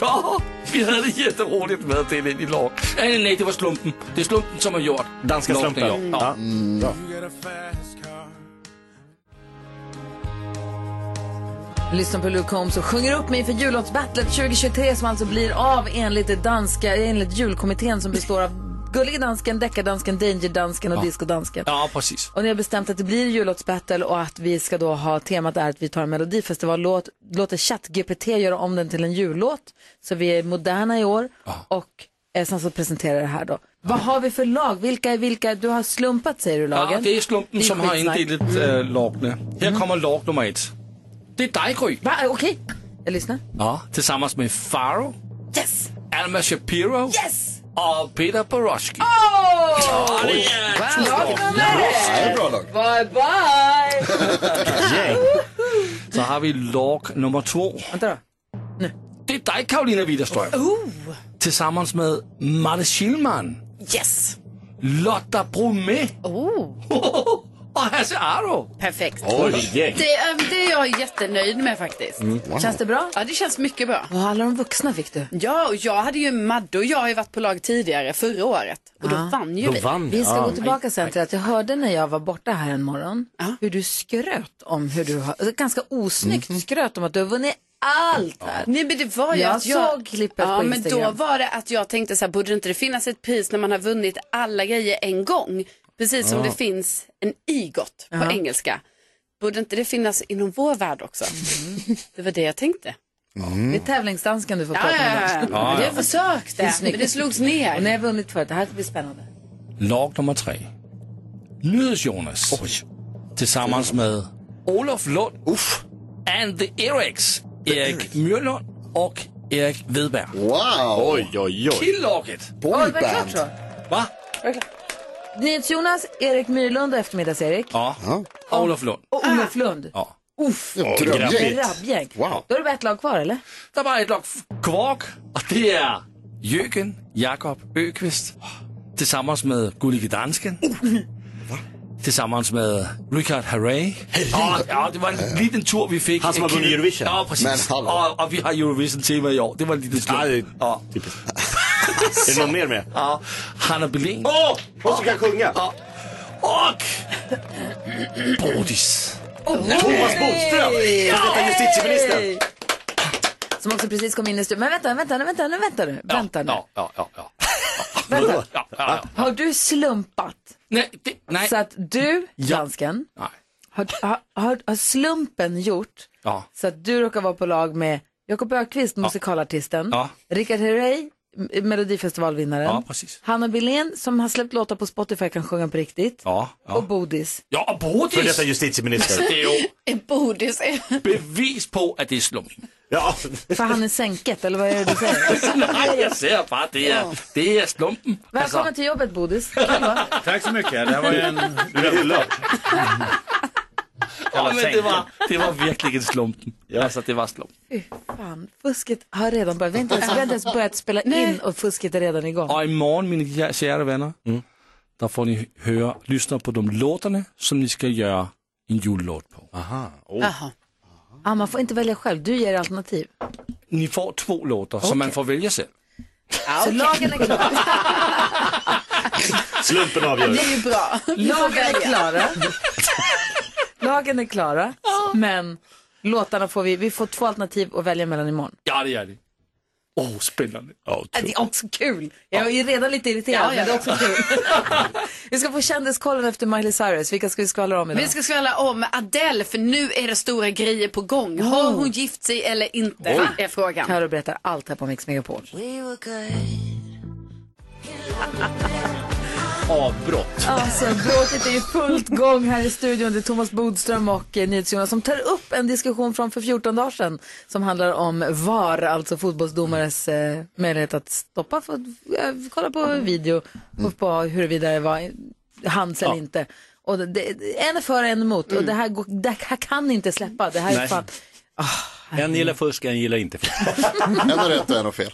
[SPEAKER 4] Ja, vi hade det jätteroligt med att dela in i lag. Nej, nej, nej, det var slumpen. Det är slumpen som har gjort.
[SPEAKER 2] Danska
[SPEAKER 4] Lag,
[SPEAKER 2] slumpen.
[SPEAKER 4] det är jag.
[SPEAKER 2] Ja. Bra.
[SPEAKER 1] Lyssna på Luke Combs och sjunger upp mig inför jullåtsbattlet 2023 som alltså blir av enligt, det danska, enligt julkommittén som består av Gullige dansken, Deckardansken, Dangerdansken och
[SPEAKER 4] Ja.
[SPEAKER 1] Discodansken.
[SPEAKER 4] Ja, precis.
[SPEAKER 1] Och ni har bestämt att det blir jullåtsbattle och att vi ska då ha temat är att vi tar en melodifestivallåt, låter ChatGPT göra om den till en jullåt. Så vi är moderna i år och eh, sen så presenterar jag det här då. Vad har vi för lag? Vilka är vilka? Du har slumpat säger du lagen.
[SPEAKER 4] Ja, det är slumpen som har
[SPEAKER 1] skitsnack.
[SPEAKER 4] indelat äh, lagene. Här
[SPEAKER 1] Mhm.
[SPEAKER 4] kommer lag nummer ett. Det är dig, Gry.
[SPEAKER 1] Va? Okej, jag lyssnar.
[SPEAKER 4] Ja, tillsammans med Faro,
[SPEAKER 1] Yes!
[SPEAKER 4] Alma Shapiro
[SPEAKER 1] Yes!
[SPEAKER 4] och Peter Borowski.
[SPEAKER 1] Åh!
[SPEAKER 4] Ja, det är ett
[SPEAKER 1] Wow,
[SPEAKER 4] slag.
[SPEAKER 1] lag nummer ett!
[SPEAKER 4] Ja, det är bra
[SPEAKER 5] lag.
[SPEAKER 1] Bye bye!
[SPEAKER 4] Så har vi lag nummer två.
[SPEAKER 1] Vänta då.
[SPEAKER 4] Det är dig, Karolina Widerström. Tillsammans med Marte Schillman.
[SPEAKER 7] Yes!
[SPEAKER 4] Lotta Bromé
[SPEAKER 7] Oh.
[SPEAKER 4] och Hasse Aro.
[SPEAKER 7] Perfekt.
[SPEAKER 4] Oj, gäng.
[SPEAKER 7] Det, är- det är jag jättenöjd med faktiskt.
[SPEAKER 4] Mm, wow.
[SPEAKER 1] Känns det bra?
[SPEAKER 7] Ja, det känns mycket bra.
[SPEAKER 1] Och alla de vuxna fick du.
[SPEAKER 7] Ja, och jag hade ju Madde och jag har ju varit på lag tidigare, förra året. Och då
[SPEAKER 1] Ja.
[SPEAKER 7] vann ju vi.
[SPEAKER 1] Vi ska gå tillbaka sen till att jag hörde när jag var borta här en morgon hur du skröt om hur du har, alltså, ganska osnyggt skröt om att du har vunnit allt här.
[SPEAKER 7] Nej men det var ju
[SPEAKER 1] Jag
[SPEAKER 7] att jag...
[SPEAKER 1] såg klippet
[SPEAKER 7] ja,
[SPEAKER 1] på
[SPEAKER 7] men då
[SPEAKER 1] Instagram.
[SPEAKER 7] var det att jag tänkte så här, borde inte det finnas ett pris när man har vunnit alla grejer en gång? Precis som
[SPEAKER 1] Ja.
[SPEAKER 7] det finns en EGOT på
[SPEAKER 1] Ja.
[SPEAKER 7] engelska. Borde inte det finnas inom vår värld också?
[SPEAKER 1] Mm.
[SPEAKER 7] Det var det jag tänkte.
[SPEAKER 1] Det är tävlingsdansken du får
[SPEAKER 7] Ja,
[SPEAKER 1] prata
[SPEAKER 7] ja,
[SPEAKER 1] med.
[SPEAKER 7] ja.
[SPEAKER 1] idag.
[SPEAKER 7] Ja, ja. Jag försökte,
[SPEAKER 1] är snyggt.
[SPEAKER 7] men det slogs ner.
[SPEAKER 1] Och när jag vunnit förut, det här blir spännande.
[SPEAKER 4] Lag nummer tre. Nyhets-Jonas. Tillsammans med Olof Lund. Uff. And the Eriks. Erik Myrlund och Erik Vedberg.
[SPEAKER 5] Wow!
[SPEAKER 2] Oj, oj, oj.
[SPEAKER 4] Kill-laget.
[SPEAKER 1] Oj, var det klart så?
[SPEAKER 4] Va?
[SPEAKER 1] NyhetsJonas, Erik Myrlund och eftermiddags-Erik.
[SPEAKER 4] Ja. Och Olof Lund.
[SPEAKER 1] Och Olof Lund.
[SPEAKER 4] Ja.
[SPEAKER 1] Uff,
[SPEAKER 4] Det var ett grabbgäng.
[SPEAKER 1] grabbgäng.
[SPEAKER 4] Wow.
[SPEAKER 1] Då är det bara ett lag kvar eller?
[SPEAKER 4] Det var ett lag kvar och det är Jürgen Jakob Öqvist tillsammans med Gullige Dansken. Tillsammans med Richard Herrey. Ja, ja, det var en liten tur vi fick.
[SPEAKER 2] Han som har vunnit Eurovision.
[SPEAKER 4] Ja, precis.
[SPEAKER 2] Men hallå.
[SPEAKER 4] Och, och vi har Eurovision-tema i år. Det var en liten slump. Ja,
[SPEAKER 2] typiskt. Är det någon mer med?
[SPEAKER 4] Ja, Hanna Belén.
[SPEAKER 2] Åh! hon som kan sjunga.
[SPEAKER 4] Och Bodis.
[SPEAKER 2] Thomas Bodström! Före detta justitieministern.
[SPEAKER 1] Som också precis kom in i studion. Men vänta, vänta, nu, vänta nu, vänta nu. Vänta nu.
[SPEAKER 4] Ja, ja, ja. ja.
[SPEAKER 1] Vänta.
[SPEAKER 4] Ja, ja, ja.
[SPEAKER 1] Har du slumpat?
[SPEAKER 4] Nej, det, nej.
[SPEAKER 1] Så att du, dansken,
[SPEAKER 4] Nej.
[SPEAKER 1] har, har, har, har slumpen gjort
[SPEAKER 4] Ja.
[SPEAKER 1] så att du råkar vara på lag med Jakob Ökvist, musikalartisten.
[SPEAKER 4] Ja.
[SPEAKER 1] Rickard Herrey, m- Melodifestivalvinnaren.
[SPEAKER 4] Ja, precis.
[SPEAKER 1] Hanna Billén, som har släppt låtar på Spotify, kan sjunga på riktigt.
[SPEAKER 4] Ja. ja.
[SPEAKER 1] Och Bodis.
[SPEAKER 4] Ja, Bodis!
[SPEAKER 2] För detta justitieminister.
[SPEAKER 4] Det är ju
[SPEAKER 7] Bodis.
[SPEAKER 4] bevis på att det är slump.
[SPEAKER 2] Ja.
[SPEAKER 1] För han är sänket, eller vad är det du
[SPEAKER 4] Alltså.
[SPEAKER 1] säger?
[SPEAKER 4] Nej, jag säger bara att det är, det är slumpen.
[SPEAKER 1] Välkommen till jobbet, Bodis. Kul, va?
[SPEAKER 11] Tack så mycket. Det här var ju en... Du är hyllad.
[SPEAKER 4] Ja, men det var, det var verkligen slumpen. Alltså, det var slumpen.
[SPEAKER 1] Fy Fan, fusket har redan börjat. Vi har inte ens, vi har inte ens börjat spela in och fusket är redan igång.
[SPEAKER 4] Och imorgon, mina kä- kära vänner,
[SPEAKER 2] Mm.
[SPEAKER 4] där får ni höra, lyssna på de låtarna som ni ska göra en jullåt på. Aha.
[SPEAKER 2] Oh.
[SPEAKER 1] Jaha. Ah, man får inte välja själv, du ger alternativ.
[SPEAKER 4] Ni får två låtar som man får välja själv.
[SPEAKER 1] Så lagen är klar.
[SPEAKER 2] Slumpen
[SPEAKER 1] Det är ju bra. Lagen är klara. Lagen är klara, men låtarna får vi, vi får två alternativ att välja mellan imorgon.
[SPEAKER 4] Ja, det är det. Åh, oh, spännande.
[SPEAKER 1] Äh, Det är också kul. Jag är ju redan lite
[SPEAKER 7] Ja,
[SPEAKER 1] irriterad,
[SPEAKER 7] ja,
[SPEAKER 1] men det är
[SPEAKER 7] ja.
[SPEAKER 1] också kul. vi ska få kändiskollen efter Miley Cyrus. Vilka ska vi skvallra om idag?
[SPEAKER 7] Vi ska skvallra om Adele för nu är det stora grejer på gång. Har
[SPEAKER 1] Oh.
[SPEAKER 7] hon gift sig eller inte? Är frågan.
[SPEAKER 1] Carro berättar allt här på Mix Megapol.
[SPEAKER 2] Avbrott.
[SPEAKER 1] Alltså, bråket är i fullt gång här i studion. Det är Thomas Bodström och eh, NyhetsJonas som tar upp en diskussion från för 14 dagar sedan som handlar om VAR, alltså fotbollsdomares eh, möjlighet att stoppa, för, eh, kolla på video
[SPEAKER 7] Mm.
[SPEAKER 1] och på huruvida det var hands eller inte. Och det- det, en är för, en är emot. Och det här,
[SPEAKER 7] Mm.
[SPEAKER 1] går, det här kan inte släppa. Det här är
[SPEAKER 11] Nej.
[SPEAKER 1] fan... Ah,
[SPEAKER 11] En gillar fusk, en gillar inte fusk.
[SPEAKER 5] En har rätt och en har fel.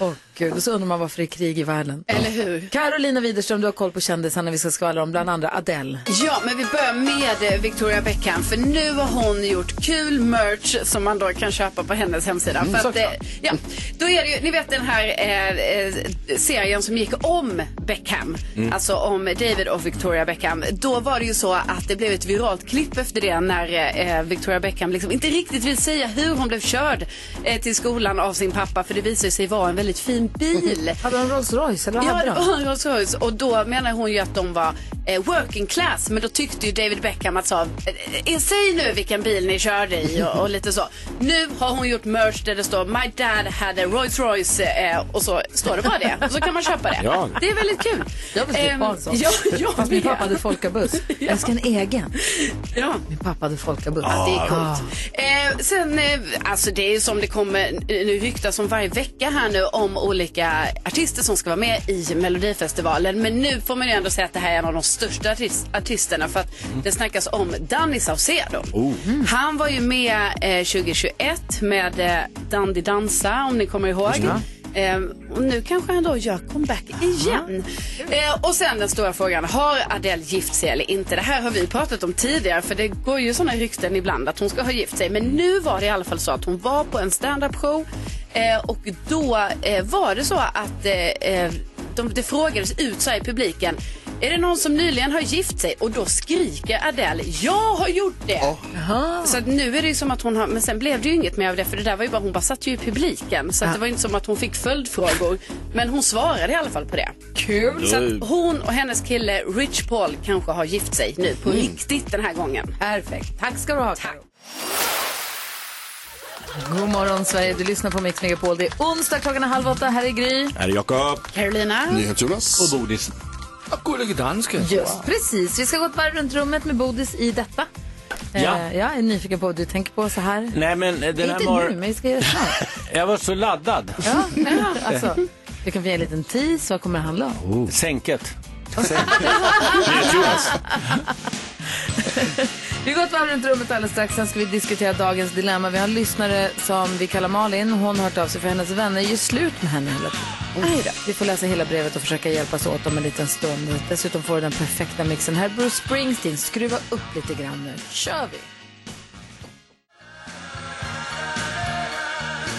[SPEAKER 1] Åh gud, och så undrar man varför det är krig i världen.
[SPEAKER 7] Eller hur?
[SPEAKER 1] Carolina Widerström, du har koll på kändisarna vi ska skvallra om, bland andra Adele.
[SPEAKER 7] Ja, men vi börjar med eh, Victoria Beckham för nu har hon gjort kul merch som man då kan köpa på hennes hemsida.
[SPEAKER 8] Mm,
[SPEAKER 7] för att, eh,
[SPEAKER 8] såklart.
[SPEAKER 7] ja, då är det ju, ni vet den här eh, eh, serien som gick om Beckham,
[SPEAKER 8] Mm.
[SPEAKER 7] alltså om David och Victoria Beckham. Då var det ju så att det blev ett viralt klipp efter det när eh, Victoria Beckham liksom inte riktigt vill säga hur hon blev körd eh, till skolan av sin pappa för det visade sig vara en väldigt fin
[SPEAKER 8] Mm-hmm.
[SPEAKER 7] bil.
[SPEAKER 1] Hade hon Rolls Royce? Eller vad
[SPEAKER 7] Ja,
[SPEAKER 1] hade
[SPEAKER 7] det
[SPEAKER 1] de?
[SPEAKER 7] var en Rolls Royce och då menar hon ju att de var eh, working class men då tyckte ju David Beckham att sa, eh, säg nu vilken bil ni körde i och, och lite så. Nu har hon gjort merch där det står My dad had a Rolls Royce eh, och så står det bara det. Och så kan man köpa det.
[SPEAKER 1] Ja.
[SPEAKER 7] Det är väldigt kul. Ehm,
[SPEAKER 1] Jag vill slippa ha en sån.
[SPEAKER 7] ja, jag
[SPEAKER 1] Fast min
[SPEAKER 7] vet.
[SPEAKER 1] pappa hade folkabuss. Jag önskar en egen.
[SPEAKER 7] Ja.
[SPEAKER 1] Min pappa hade folkabuss.
[SPEAKER 7] Ja, det är coolt. Eh, sen, eh, alltså det är ju som det kommer eh, nu ryktas om varje vecka här nu om olika artister som ska vara med i Melodifestivalen. Men nu får man ju ändå säga att det här är en av de största artist- artisterna för att
[SPEAKER 8] Mm.
[SPEAKER 7] det snackas om Danny Saucedo.
[SPEAKER 2] Oh.
[SPEAKER 7] Han var ju med eh, 2021 med eh, Dandy Dansa om ni kommer ihåg.
[SPEAKER 8] Just det.
[SPEAKER 7] Ehm, och nu kanske han då gör comeback igen. Eh, och sen den stora frågan, har Adele gift sig eller inte? Det här har vi pratat om tidigare för det går ju sådana rykten ibland att hon ska ha gift sig. Men nu var det i alla fall så att hon var på en stand-up show eh, och då eh, var det så att eh, eh, de, det frågades ut så här i publiken. Är det någon som nyligen har gift sig? Och då skriker Adele, jag har gjort det! Så att nu är det ju som att hon har, men sen blev det ju inget mer av det för det där var ju bara, hon bara satt ju i publiken. Så att det var inte som att hon fick följdfrågor. Men hon svarade i alla fall på det.
[SPEAKER 1] Kul!
[SPEAKER 7] Så att hon och hennes kille Rich Paul kanske har gift sig nu på riktigt den här gången.
[SPEAKER 1] Mm. Perfekt. Tack ska du ha, Karo. God morgon, Sverige. Du lyssnar på Mix Megapol. Det är onsdag, klockan är halv åtta. Här är Gry.
[SPEAKER 2] Här är Jakob.
[SPEAKER 1] Carolina.
[SPEAKER 5] Nyhets-Jonas.
[SPEAKER 4] Och Bodis. Gullige dansken.
[SPEAKER 1] Just precis. Vi ska gå ett varv runt rummet med Bodis i detta. Eh,
[SPEAKER 11] Ja.
[SPEAKER 1] jag är nyfiken på vad du tänker på så här.
[SPEAKER 11] Nej, men eh, den här
[SPEAKER 1] Inte nu,
[SPEAKER 11] morgonen...
[SPEAKER 1] men vi ska göra det snart.
[SPEAKER 11] Jag var så laddad.
[SPEAKER 1] Ja, alltså, du kan få ge en liten tease. Vad kommer det handla om?
[SPEAKER 11] Oh. Sänket.
[SPEAKER 1] Vi går ett varv runt rummet alldeles strax. Sen ska vi diskutera dagens dilemma. Vi har en lyssnare som vi kallar Malin. Hon har hört av sig för hennes vänner gör slut med henne hela tiden. Mm. Vi får läsa hela brevet och försöka hjälpas åt om en liten stund. Dessutom får du den perfekta mixen. Här är Bruce Springsteen. Skruva upp lite grann nu. Kör vi!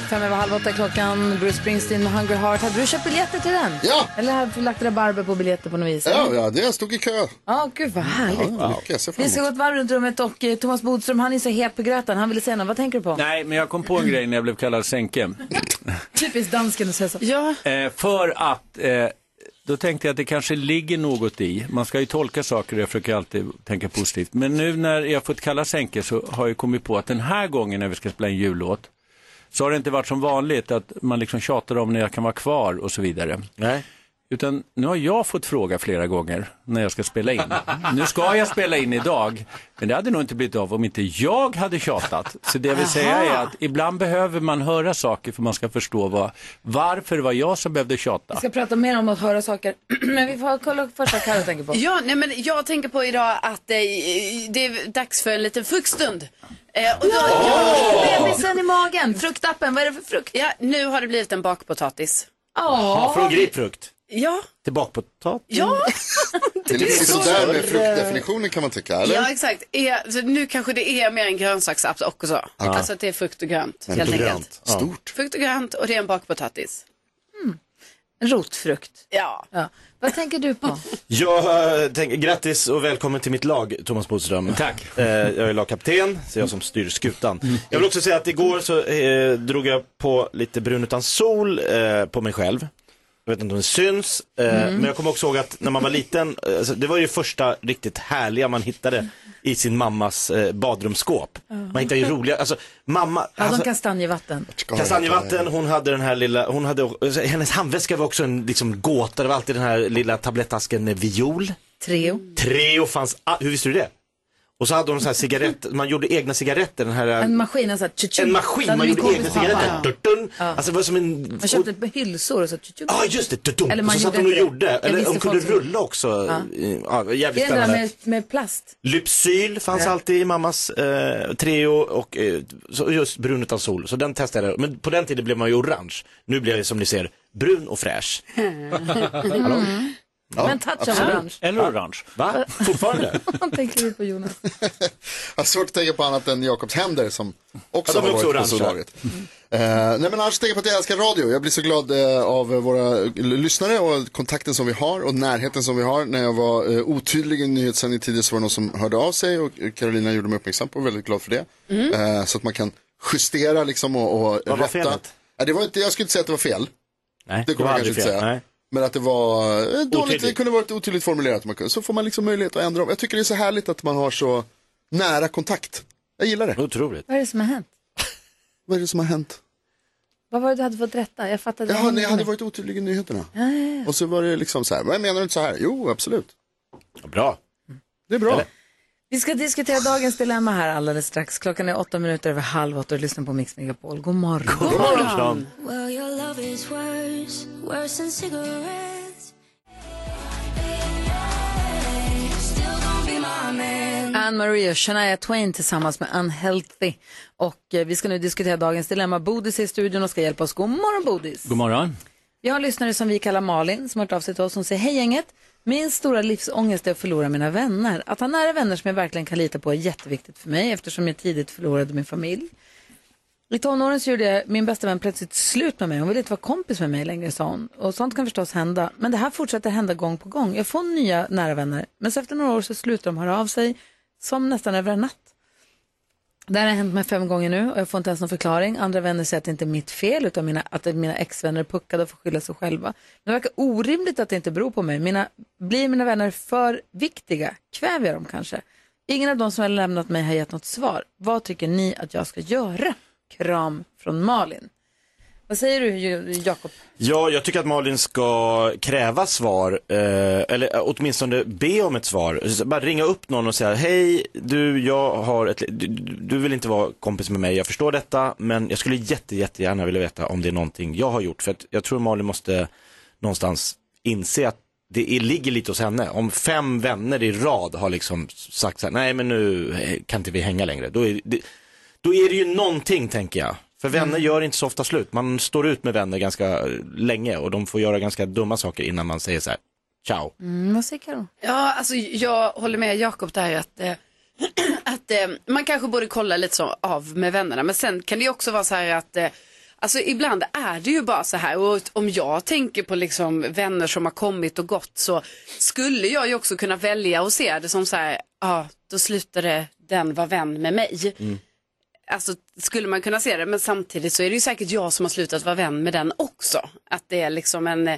[SPEAKER 1] Fem över halv åtta är klockan. Bruce Springsteen med Hungry Heart. Hade du köpt biljetter till den?
[SPEAKER 5] Ja!
[SPEAKER 1] Eller hade du lagt rabarber på biljetter på något vis?
[SPEAKER 5] Ja, ja, det jag stod i kö.
[SPEAKER 1] Ja, gud vad härligt.
[SPEAKER 5] Ja, lyckas. Jag ser fram
[SPEAKER 1] Vi ska gå
[SPEAKER 5] emot.
[SPEAKER 1] ett varv runt rummet och eh, Thomas Bodström han är så het på gröten. Han ville säga något. Vad tänker du på?
[SPEAKER 11] Nej, men jag kom på en grej när jag blev kallad sänke.
[SPEAKER 1] Typiskt dansken att säga så. Ja.
[SPEAKER 11] Eh, för att, eh, då tänkte jag att det kanske ligger något i, man ska ju tolka saker och jag försöker alltid tänka positivt. Men nu när jag fått kalla sänke så har jag kommit på att den här gången när vi ska spela en jullåt så har det inte varit som vanligt att man liksom tjatar om när jag kan vara kvar och så vidare.
[SPEAKER 2] Nej.
[SPEAKER 11] Utan nu har jag fått fråga flera gånger när jag ska spela in. Nu ska jag spela in idag, men det hade nog inte blivit av om inte jag hade tjatat. Så det jag vill säga
[SPEAKER 12] Aha.
[SPEAKER 11] är att ibland behöver man höra saker för man ska förstå vad, varför det var jag som behövde tjata.
[SPEAKER 1] Vi ska prata mer om att höra saker. Men vi får kolla först vad Carro tänker på.
[SPEAKER 7] Ja, nej, men jag tänker på idag att eh, det är dags för en liten fruktstund. Eh, och då,
[SPEAKER 1] Ja! Bebisen i magen, fruktappen, vad är det för frukt?
[SPEAKER 7] Ja, nu har det blivit en bakpotatis.
[SPEAKER 2] Ja, från grapefrukt
[SPEAKER 7] Ja,
[SPEAKER 2] till bakpotatis.
[SPEAKER 1] Mm.
[SPEAKER 7] ja.
[SPEAKER 5] Det är lite
[SPEAKER 7] så
[SPEAKER 5] sådär med
[SPEAKER 7] sorgligt.
[SPEAKER 5] fruktdefinitionen kan man tycka, eller?
[SPEAKER 7] Ja, exakt. Eh, så nu kanske det är mer en grönsakssaft också. Alltså att det är frukt och grönt,
[SPEAKER 5] Men
[SPEAKER 7] helt
[SPEAKER 5] grönt,
[SPEAKER 7] enkelt.
[SPEAKER 5] ja. Stort.
[SPEAKER 7] Frukt och grönt och det är en bakpotatis.
[SPEAKER 1] En rotfrukt.
[SPEAKER 7] Ja.
[SPEAKER 1] ja. Vad tänker du på?
[SPEAKER 2] Jag eh, tänker grattis och välkommen till mitt lag, Thomas Bodström. Tack. Eh, jag är lagkapten, så jag som styr skutan. Jag vill också säga att igår så eh, drog jag på lite brun utan sol eh, på mig själv. Jag vet inte om det syns, eh,
[SPEAKER 13] Mm.
[SPEAKER 2] men jag kommer också ihåg att när man var liten, eh, alltså, det var ju det första riktigt härliga man hittade i sin mammas eh, badrumsskåp. Man hittade ju roliga, alltså mamma,
[SPEAKER 1] Hade hon
[SPEAKER 2] alltså,
[SPEAKER 1] kastanjevatten?
[SPEAKER 2] Kastanjevatten, hon hade den här lilla, hon hade, eh, hennes handväska var också en liksom gåta, det var alltid den här lilla tablettasken med viol.
[SPEAKER 1] Treo.
[SPEAKER 2] Treo fanns, ah, hur visste du det? Och så hade hon så här cigarett, man gjorde egna cigaretter, den här,
[SPEAKER 1] En
[SPEAKER 2] en,
[SPEAKER 1] maskin, en sån här tju-tju.
[SPEAKER 2] maskin,
[SPEAKER 1] Hade
[SPEAKER 2] man
[SPEAKER 1] min
[SPEAKER 2] gjorde
[SPEAKER 1] kompis
[SPEAKER 2] egna
[SPEAKER 1] pappa.
[SPEAKER 2] cigaretter.
[SPEAKER 1] Ja.
[SPEAKER 2] Dun-dun. Alltså det var som en,
[SPEAKER 1] Man köpte hylsor och så tju-tju.
[SPEAKER 2] ja ah, just det, dun-dun.
[SPEAKER 1] Eller
[SPEAKER 2] Och
[SPEAKER 1] man
[SPEAKER 2] så satt
[SPEAKER 1] gjorde
[SPEAKER 2] hon och
[SPEAKER 1] inte det.
[SPEAKER 2] gjorde,
[SPEAKER 1] Jag
[SPEAKER 2] eller
[SPEAKER 1] visste
[SPEAKER 2] hon kunde
[SPEAKER 1] folk som-
[SPEAKER 2] rulla också.
[SPEAKER 1] Ja.
[SPEAKER 2] Ja. jävligt
[SPEAKER 1] Det är den där
[SPEAKER 2] spännande.
[SPEAKER 1] med, med plast.
[SPEAKER 2] Lypsyl fanns
[SPEAKER 1] Ja.
[SPEAKER 2] alltid i mammas eh, Treo och eh, så just brun utan sol. Så den testade jag. Men på den tiden blev man ju orange. Nu blir jag som ni ser brun och fräsch. Hallå? Ja,
[SPEAKER 1] Men touch av
[SPEAKER 2] absolut.
[SPEAKER 1] orange.
[SPEAKER 11] Eller orange.
[SPEAKER 2] Va? Fortfarande?
[SPEAKER 1] Vad tänker du på Jonas?
[SPEAKER 5] Jag har svårt att tänka på annat än Jakobs händer som också
[SPEAKER 2] Ja, de
[SPEAKER 5] har
[SPEAKER 2] är också
[SPEAKER 5] varit på
[SPEAKER 2] orangea.
[SPEAKER 5] Solariet. Eh, nej men annars tänker jag på att jag älskar radio. Jag blir så glad eh, av eh, våra l- lyssnare och kontakten som vi har och närheten som vi har. När jag var eh, otydlig i en nyhetssändning tidigare så var det någon som hörde av sig och Carolina gjorde mig uppmärksam på och väldigt glad för det.
[SPEAKER 9] Mm.
[SPEAKER 5] Eh, så att man kan justera liksom och, och
[SPEAKER 2] Vad var
[SPEAKER 5] rätta.
[SPEAKER 2] felet?
[SPEAKER 5] Nej, det var inte, jag skulle inte säga att det var fel.
[SPEAKER 2] Nej,
[SPEAKER 5] det kommer jag kanske inte säga. Men att det var eh, dåligt, det
[SPEAKER 2] Otydligt.
[SPEAKER 5] kunde varit otydligt formulerat. Man kunde- Så får man liksom möjlighet att ändra om. Jag tycker det är så härligt att man har så nära kontakt. Jag gillar det.
[SPEAKER 2] Otroligt.
[SPEAKER 1] Vad är det som har hänt?
[SPEAKER 5] Vad är det som har hänt?
[SPEAKER 1] Vad var det du hade fått rätta? Jag fattade
[SPEAKER 5] Jaha, nej, jag hade varit otydlig i nyheterna. Och så var det liksom så här, vad menar du inte så här? Jo, absolut.
[SPEAKER 2] Bra.
[SPEAKER 5] Det är bra.
[SPEAKER 1] Vi ska diskutera dagens dilemma här alldeles strax. Klockan är åtta minuter över halv åtta och du lyssnar på Mix Megapol. God morgon.
[SPEAKER 14] God morgon.
[SPEAKER 2] morgon.
[SPEAKER 14] Well, your love is worse, worse than cigarettes. Still gonna be my man.
[SPEAKER 1] Anne Marie och Shania Twain tillsammans med Unhealthy. Och eh, vi ska nu diskutera dagens dilemma. Bodis är i studion och ska hjälpa oss. God morgon Bodis.
[SPEAKER 11] God morgon.
[SPEAKER 1] Vi har en lyssnare som vi kallar Malin som har hört av sig till oss. Hon säger, hej gänget. Min stora livsångest är att förlora mina vänner. Att ha nära vänner som jag verkligen kan lita på är jätteviktigt för mig eftersom jag tidigt förlorade min familj. I tonåren så gjorde jag, min bästa vän plötsligt slut med mig. Hon ville inte vara kompis med mig längre, sa hon. Och sånt kan förstås hända. Men det här fortsätter hända gång på gång. Jag får nya nära vänner. Men så efter några år så slutar de höra av sig, som nästan över en natt. Det här har hänt mig fem gånger nu och jag får inte ens någon förklaring. Andra vänner säger att det inte är mitt fel utan mina, att mina exvänner är puckade och får skylla sig själva. Men det verkar orimligt att det inte beror på mig. Mina, blir mina vänner för viktiga? Kväver jag dem kanske? Ingen av de som har lämnat mig har gett något svar. Vad tycker ni att jag ska göra? Kram från Malin. Vad säger du, Jo- Jakob?
[SPEAKER 2] Ja, jag tycker att Malin ska kräva svar, eh, eller eh, åtminstone be om ett svar. Så Bara ringa upp någon och säga, hej, du, jag har ett, li- du, du- du vill inte vara kompis med mig, jag förstår detta, men jag skulle jätte, jättegärna vilja veta om det är någonting jag har gjort. För att jag tror Malin måste någonstans inse att det är, ligger lite hos henne. Om fem vänner i rad har liksom sagt så här, nej men nu eh, kan inte vi hänga längre. Då är det, då är det ju någonting tänker jag. För vänner
[SPEAKER 5] Mm.
[SPEAKER 2] gör inte så ofta slut. Man står ut med vänner ganska eh, länge och de får göra ganska dumma saker innan man säger så här, ciao.
[SPEAKER 1] Mm, vad säger Karo?
[SPEAKER 7] Ja, alltså jag håller med Jakob där att, eh, att eh, man kanske borde kolla lite så av med vännerna. Men sen kan det ju också vara så här att eh, Alltså ibland är det ju bara så här och om jag tänker på liksom vänner som har kommit och gått så skulle jag ju också kunna välja och se det som så här, ja då slutade den vara vän med mig.
[SPEAKER 2] Mm.
[SPEAKER 7] Alltså skulle man kunna se det men samtidigt så är det ju säkert jag som har slutat vara vän med den också. Att det är liksom en, eh,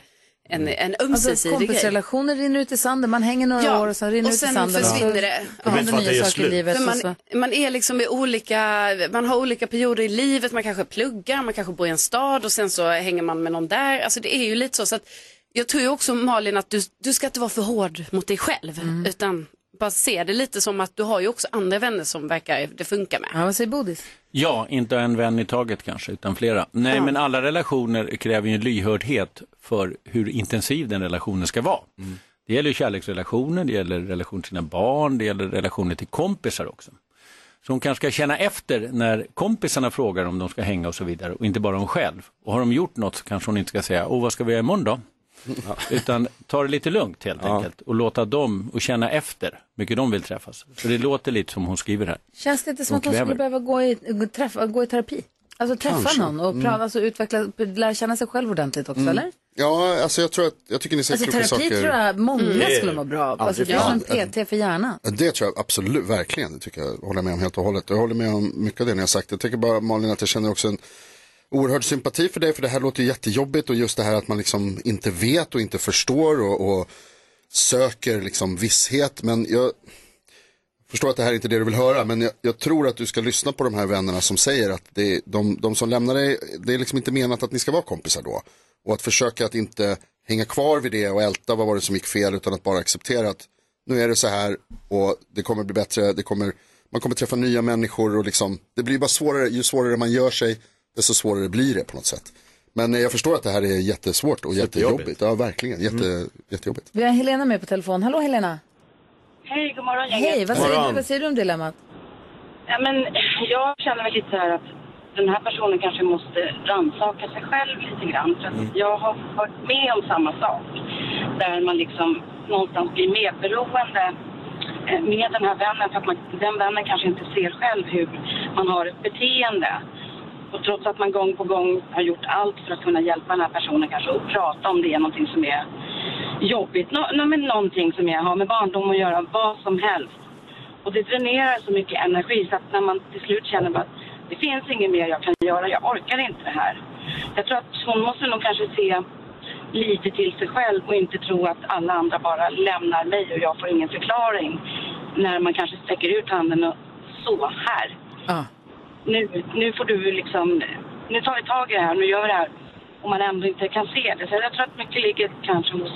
[SPEAKER 7] en, en
[SPEAKER 1] Alltså,
[SPEAKER 7] ömsesidig grej.
[SPEAKER 1] kompisrelationer rinner ut i sanden, man hänger några år och sen rinner
[SPEAKER 7] och
[SPEAKER 1] ut i
[SPEAKER 7] sen
[SPEAKER 1] sanden.
[SPEAKER 7] försvinner det.
[SPEAKER 1] Ja, händer nya saker i livet.
[SPEAKER 7] För
[SPEAKER 1] och så.
[SPEAKER 7] man, man är liksom i olika, man har olika perioder i livet, man kanske pluggar, man kanske bor i en stad och sen så hänger man med någon där. Alltså det är ju lite så. så att jag tror ju också Malin att du, du ska inte vara för hård mot dig själv
[SPEAKER 1] Mm.
[SPEAKER 7] utan bara se det lite som att du har ju också andra vänner som verkar det funkar med.
[SPEAKER 1] Ja, vad säger Bodis?
[SPEAKER 11] Ja, inte en vän i taget kanske, utan flera. Nej, men alla relationer kräver ju en lyhördhet för hur intensiv den relationen ska vara.
[SPEAKER 2] Mm.
[SPEAKER 11] Det gäller ju kärleksrelationer, det gäller relation till sina barn, det gäller relationer till kompisar också. Så hon kanske ska känna efter när kompisarna frågar om de ska hänga och så vidare och inte bara hon själv. Och har de gjort något så kanske hon inte ska säga, åh vad ska vi göra imorgon då? Utan ta det lite lugnt helt enkelt och låta dem och känna efter hur mycket de vill träffas. För det låter lite som hon skriver här.
[SPEAKER 1] Känns det inte som
[SPEAKER 11] De
[SPEAKER 1] att hon skulle
[SPEAKER 11] kräver.
[SPEAKER 1] behöva gå i, gå- träffa, gå i terapi? Alltså träffa
[SPEAKER 5] Kanske.
[SPEAKER 1] någon och
[SPEAKER 5] Mm.
[SPEAKER 1] prata, alltså, utveckla, lära känna sig själv ordentligt också, eller?
[SPEAKER 5] Ja, alltså jag tror att, jag tycker ni säger
[SPEAKER 1] Alltså
[SPEAKER 5] kloka
[SPEAKER 1] terapi
[SPEAKER 5] saker. Mm.
[SPEAKER 1] tror jag många skulle må bra av. Alltså,
[SPEAKER 5] Aldrig
[SPEAKER 1] det är som
[SPEAKER 5] fel.
[SPEAKER 1] PT för hjärnan.
[SPEAKER 5] Ja, Det tror jag absolut, verkligen. Det tycker jag håller jag med om helt och hållet. Jag håller med om mycket av det ni har sagt. Jag tänker bara Malin att jag känner också en oerhörd sympati för dig, för det här låter ju jättejobbigt och just det här att man liksom inte vet och inte förstår och, och söker liksom visshet. Men jag förstår att det här är inte det du vill höra, men jag, jag tror att du ska lyssna på de här vännerna som säger att det, de, de som lämnar dig, det är liksom inte menat att ni ska vara kompisar då. Och att försöka att inte hänga kvar vid det och älta vad var det som gick fel, utan att bara acceptera att nu är det så här och det kommer bli bättre, det kommer, man kommer träffa nya människor och liksom, det blir bara svårare, ju svårare man gör sig, desto svårare blir det på något sätt. Men eh, jag förstår att det här är jättesvårt och jättejobbigt. Ja, verkligen. Jätte, Jättejobbigt.
[SPEAKER 1] Vi har Helena med på telefon. Hallå Helena!
[SPEAKER 12] Hej, god morgon gänget.
[SPEAKER 1] Hej, vad säger, du, vad säger du om dilemmat?
[SPEAKER 12] Ja, men jag känner väl lite så här att den här personen kanske måste rannsaka sig själv lite grann. För att jag har varit med om samma sak. Där man liksom någonstans blir medberoende eh, med den här vännen. För att man, den vännen kanske inte ser själv hur man har ett beteende. Och trots att man gång på gång har gjort allt för att kunna hjälpa den här personen kanske och prata om det är någonting som är jobbigt. Nå, nå, men någonting som jag har med barndom att göra, vad som helst. Och det dränerar så mycket energi så att när man till slut känner bara att det finns inget mer jag kan göra, jag orkar inte det här. Jag tror att hon måste nog kanske se lite till sig själv och inte tro att alla andra bara lämnar mig och jag får ingen förklaring. När man kanske sträcker ut handen och så här.
[SPEAKER 1] Ah.
[SPEAKER 12] Nu, nu får du liksom, nu tar vi tag i det här, nu gör vi det här. Och man ändå inte kan se det. Så jag tror att mycket ligger kanske hos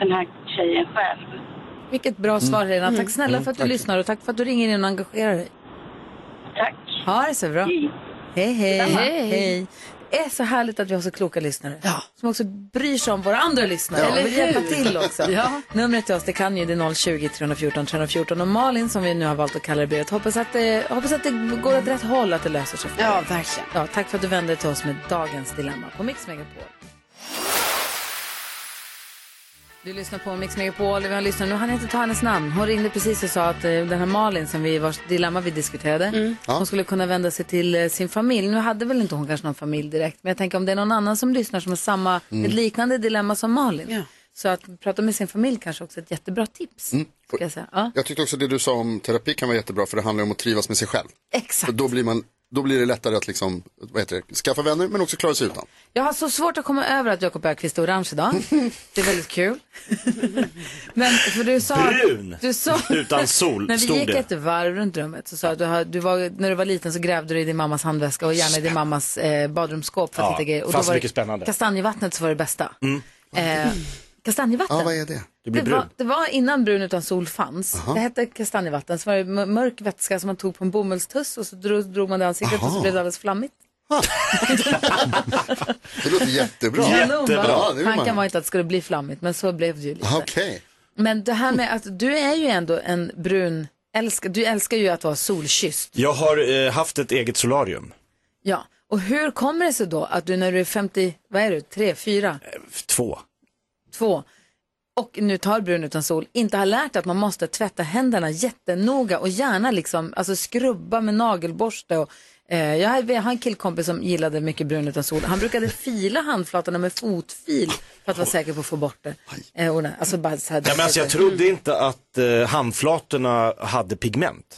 [SPEAKER 12] den här tjejen själv.
[SPEAKER 1] Vilket bra svar Helena. Tack snälla för att du
[SPEAKER 12] Tack.
[SPEAKER 1] lyssnar och tack för att du ringer in och engagerar dig.
[SPEAKER 12] Tack.
[SPEAKER 1] Ha det så bra. Hej, hej.
[SPEAKER 12] Detsamma.
[SPEAKER 1] hej. Det är så härligt att vi har så kloka lyssnare som också bryr sig om våra andra lyssnare
[SPEAKER 12] Ja.
[SPEAKER 1] och vill
[SPEAKER 12] Eller hur?
[SPEAKER 1] hjälpa till också.
[SPEAKER 12] Ja.
[SPEAKER 1] Numret till oss det kan ju det är 020 314 314 och Malin som vi nu har valt att kalla det Berit hoppas att det, hoppas att det går åt rätt håll att det löser sig. Ja, verkligen. Ja, tack för att du vände dig till oss med dagens dilemma på Mix Megapol. Du lyssnar på Mix Megapol. Vi har lyssnat. Nu hann jag inte ta hennes namn. Hon ringde precis och sa att eh, den här Malin, som vi, vars dilemma vi diskuterade,
[SPEAKER 12] Mm.
[SPEAKER 1] hon skulle kunna vända sig till eh, sin familj. Nu hade väl inte hon kanske någon familj direkt, men jag tänker om det är någon annan som lyssnar som har samma,
[SPEAKER 5] Mm.
[SPEAKER 1] ett liknande dilemma som Malin. Så att prata med sin familj kanske också är ett jättebra tips.
[SPEAKER 5] Mm.
[SPEAKER 1] Ska jag säga. Ja.
[SPEAKER 5] Jag tyckte också det du sa om terapi kan vara jättebra för det handlar ju om att trivas med sig själv.
[SPEAKER 1] Exakt.
[SPEAKER 5] För då blir, man, då blir det lättare att liksom, vad heter det, skaffa vänner men också klara sig utan.
[SPEAKER 1] Jag har så svårt att komma över att Jakob Ökvist är orange idag. Det är väldigt kul. Men för du sa...
[SPEAKER 2] Brun.
[SPEAKER 1] Du sa...
[SPEAKER 2] Utan sol,
[SPEAKER 1] När vi
[SPEAKER 2] stod
[SPEAKER 1] gick
[SPEAKER 2] det.
[SPEAKER 1] ett varv runt rummet så sa jag att du, har, du var, när du var liten så grävde du i din mammas handväska och gärna i din mammas eh, badrumsskåp för att
[SPEAKER 2] Ja,
[SPEAKER 1] hitta grejer. Och
[SPEAKER 2] fast
[SPEAKER 1] var det-
[SPEAKER 2] mycket spännande.
[SPEAKER 1] Kastanjevattnet så var det bästa.
[SPEAKER 2] Mm.
[SPEAKER 1] Eh, kastanjevatten?
[SPEAKER 2] Ja, vad är det? Du blir
[SPEAKER 1] var,
[SPEAKER 2] brun.
[SPEAKER 1] det var innan brun utan sol fanns.
[SPEAKER 2] Aha.
[SPEAKER 1] Det hette kastanjevatten. Så var det mör- mörk vätska som man tog på en bomullstuss och så drog, drog man det i ansiktet och så
[SPEAKER 5] Aha.
[SPEAKER 1] blev det alldeles flammigt.
[SPEAKER 5] Det låter jättebra.
[SPEAKER 1] Kanon, va?
[SPEAKER 5] Ja, det vill
[SPEAKER 1] Tanken var
[SPEAKER 5] man.
[SPEAKER 1] inte att det skulle bli flammigt, men så blev det ju lite.
[SPEAKER 5] Aha, Okej.
[SPEAKER 1] Men det här med att du är ju ändå en brun, älsk, du älskar ju att vara solkysst.
[SPEAKER 2] Jag har eh, haft ett eget solarium.
[SPEAKER 1] Ja, och hur kommer det sig då att du när du är 50, vad är du, 3, 4,
[SPEAKER 5] Eh,
[SPEAKER 2] Två.
[SPEAKER 1] 2 och nu tar brun utan sol, inte har lärt dig att man måste tvätta händerna jättenoga och gärna liksom, alltså skrubba med nagelborste och eh, jag har jag har en killkompis som gillade mycket brun utan sol. Han brukade fila handflatorna med fotfil för att vara säker på att få bort det. Eh, och, nej, alltså bara så här,
[SPEAKER 2] Ja, men alltså, jag trodde inte att eh, handflatorna hade pigment.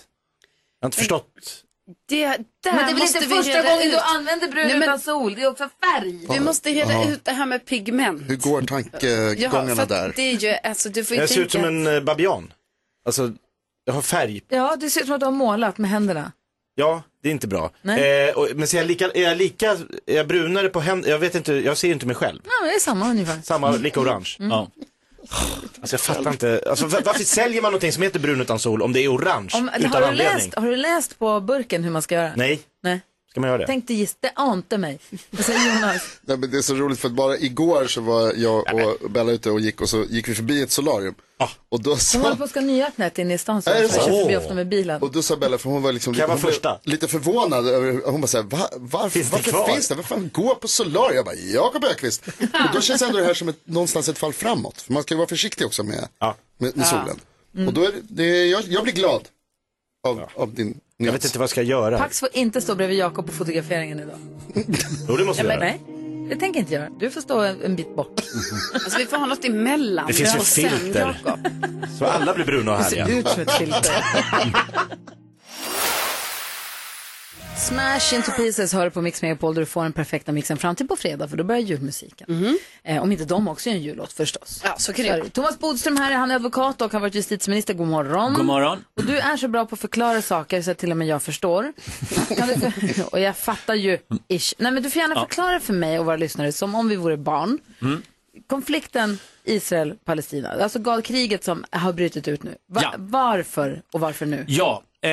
[SPEAKER 2] Jag har inte förstått
[SPEAKER 7] Det, där
[SPEAKER 1] Men det är väl
[SPEAKER 7] måste
[SPEAKER 1] inte
[SPEAKER 7] vi
[SPEAKER 1] första
[SPEAKER 7] reda
[SPEAKER 1] gången du
[SPEAKER 7] ut.
[SPEAKER 1] använder brun
[SPEAKER 7] Nej, men-
[SPEAKER 1] utan sol, det är också färg.
[SPEAKER 7] Vi måste reda
[SPEAKER 5] Ja.
[SPEAKER 7] ut det här med pigment.
[SPEAKER 5] Hur går
[SPEAKER 2] eh,
[SPEAKER 7] Jaha, för
[SPEAKER 5] tankegångarna
[SPEAKER 7] att
[SPEAKER 5] där?
[SPEAKER 7] Det är ju, alltså du får ju
[SPEAKER 2] Jag ser
[SPEAKER 7] tänka.
[SPEAKER 2] ut som en eh, babian. Alltså, jag har färg.
[SPEAKER 1] Ja, det ser ut som att du har målat med händerna.
[SPEAKER 2] Ja, det är inte bra.
[SPEAKER 1] Nej.
[SPEAKER 2] Eh, och, men ser jag lika, är jag lika, är jag brunare på händerna? Jag vet inte, jag ser inte mig själv.
[SPEAKER 1] Ja, men det är samma ungefär.
[SPEAKER 2] Samma, lika orange. Ja. Alltså jag fattar inte, alltså, va- varför säljer man någonting som heter brun utan sol om det är orange
[SPEAKER 1] Om,
[SPEAKER 2] utan
[SPEAKER 1] har, du
[SPEAKER 2] anledning?
[SPEAKER 1] läst, har du läst på burken hur man ska göra?
[SPEAKER 2] Nej,
[SPEAKER 1] Nej.
[SPEAKER 2] ska man göra det?
[SPEAKER 1] Tänkte gissa, det ante mig. Vad säger Jonas?
[SPEAKER 5] Nej, men det är så roligt för att bara igår så var jag och Bella ute och gick och så gick vi förbi ett solarium. Och då
[SPEAKER 1] De håller
[SPEAKER 5] sa,
[SPEAKER 1] på att ska ha nyöppnät inne i stan så
[SPEAKER 5] Är det
[SPEAKER 1] jag kör
[SPEAKER 5] så?
[SPEAKER 1] förbi ofta med bilen.
[SPEAKER 5] och då sa Bella, för hon var liksom
[SPEAKER 2] Kan jag vara
[SPEAKER 5] hon var
[SPEAKER 2] första?
[SPEAKER 5] lite förvånad över, hon bara så här, Va, varför
[SPEAKER 2] Finns
[SPEAKER 5] finns
[SPEAKER 2] det
[SPEAKER 5] det, varför
[SPEAKER 2] kvar?"
[SPEAKER 5] finns det? Vad fan går på solarium? Jag bara, Jakob Ökvist. Och då känns ändå det här som ett, någonstans ett fall framåt. För man ska ju vara försiktig också med, med, med
[SPEAKER 2] Ja.
[SPEAKER 5] solen.
[SPEAKER 1] Mm.
[SPEAKER 5] Och då är det, det är, jag, jag blir glad av, av din
[SPEAKER 2] Jag vet inte vad jag ska göra.
[SPEAKER 1] Pax får inte stå bredvid Jakob på fotograferingen idag.
[SPEAKER 2] Jo, det måste
[SPEAKER 1] Ja,
[SPEAKER 2] jag
[SPEAKER 1] men
[SPEAKER 2] göra.
[SPEAKER 1] nej, det tänker jag inte göra. Du får stå en, en bit bort.
[SPEAKER 7] Alltså vi får ha något emellan.
[SPEAKER 2] Det finns ju
[SPEAKER 7] Och sen
[SPEAKER 2] filter.
[SPEAKER 7] Jakob.
[SPEAKER 2] Så alla blir bruna och
[SPEAKER 1] Det ser
[SPEAKER 2] härliga.
[SPEAKER 1] ut som ett filter. Smash into pieces hör på Mix Megapol där du får den perfekta mixen fram till på fredag för då börjar julmusiken. Eh, om inte de också gör en jullåt förstås.
[SPEAKER 7] Mhm. Ja, så kan det vara.
[SPEAKER 1] Thomas Bodström här, han är advokat och har varit justitieminister. God morgon.
[SPEAKER 11] God morgon.
[SPEAKER 1] Och du är så bra på att förklara saker så att till och med jag förstår. Kan du för... Och jag fattar ju, ish. Nej men du får gärna
[SPEAKER 11] Ja.
[SPEAKER 1] förklara för mig och våra lyssnare som om vi vore barn.
[SPEAKER 11] Mm.
[SPEAKER 1] Konflikten Israel-Palestina, alltså galkriget som har brutit ut nu. Va-
[SPEAKER 11] Ja.
[SPEAKER 1] Varför och varför nu?
[SPEAKER 11] Ja, eh,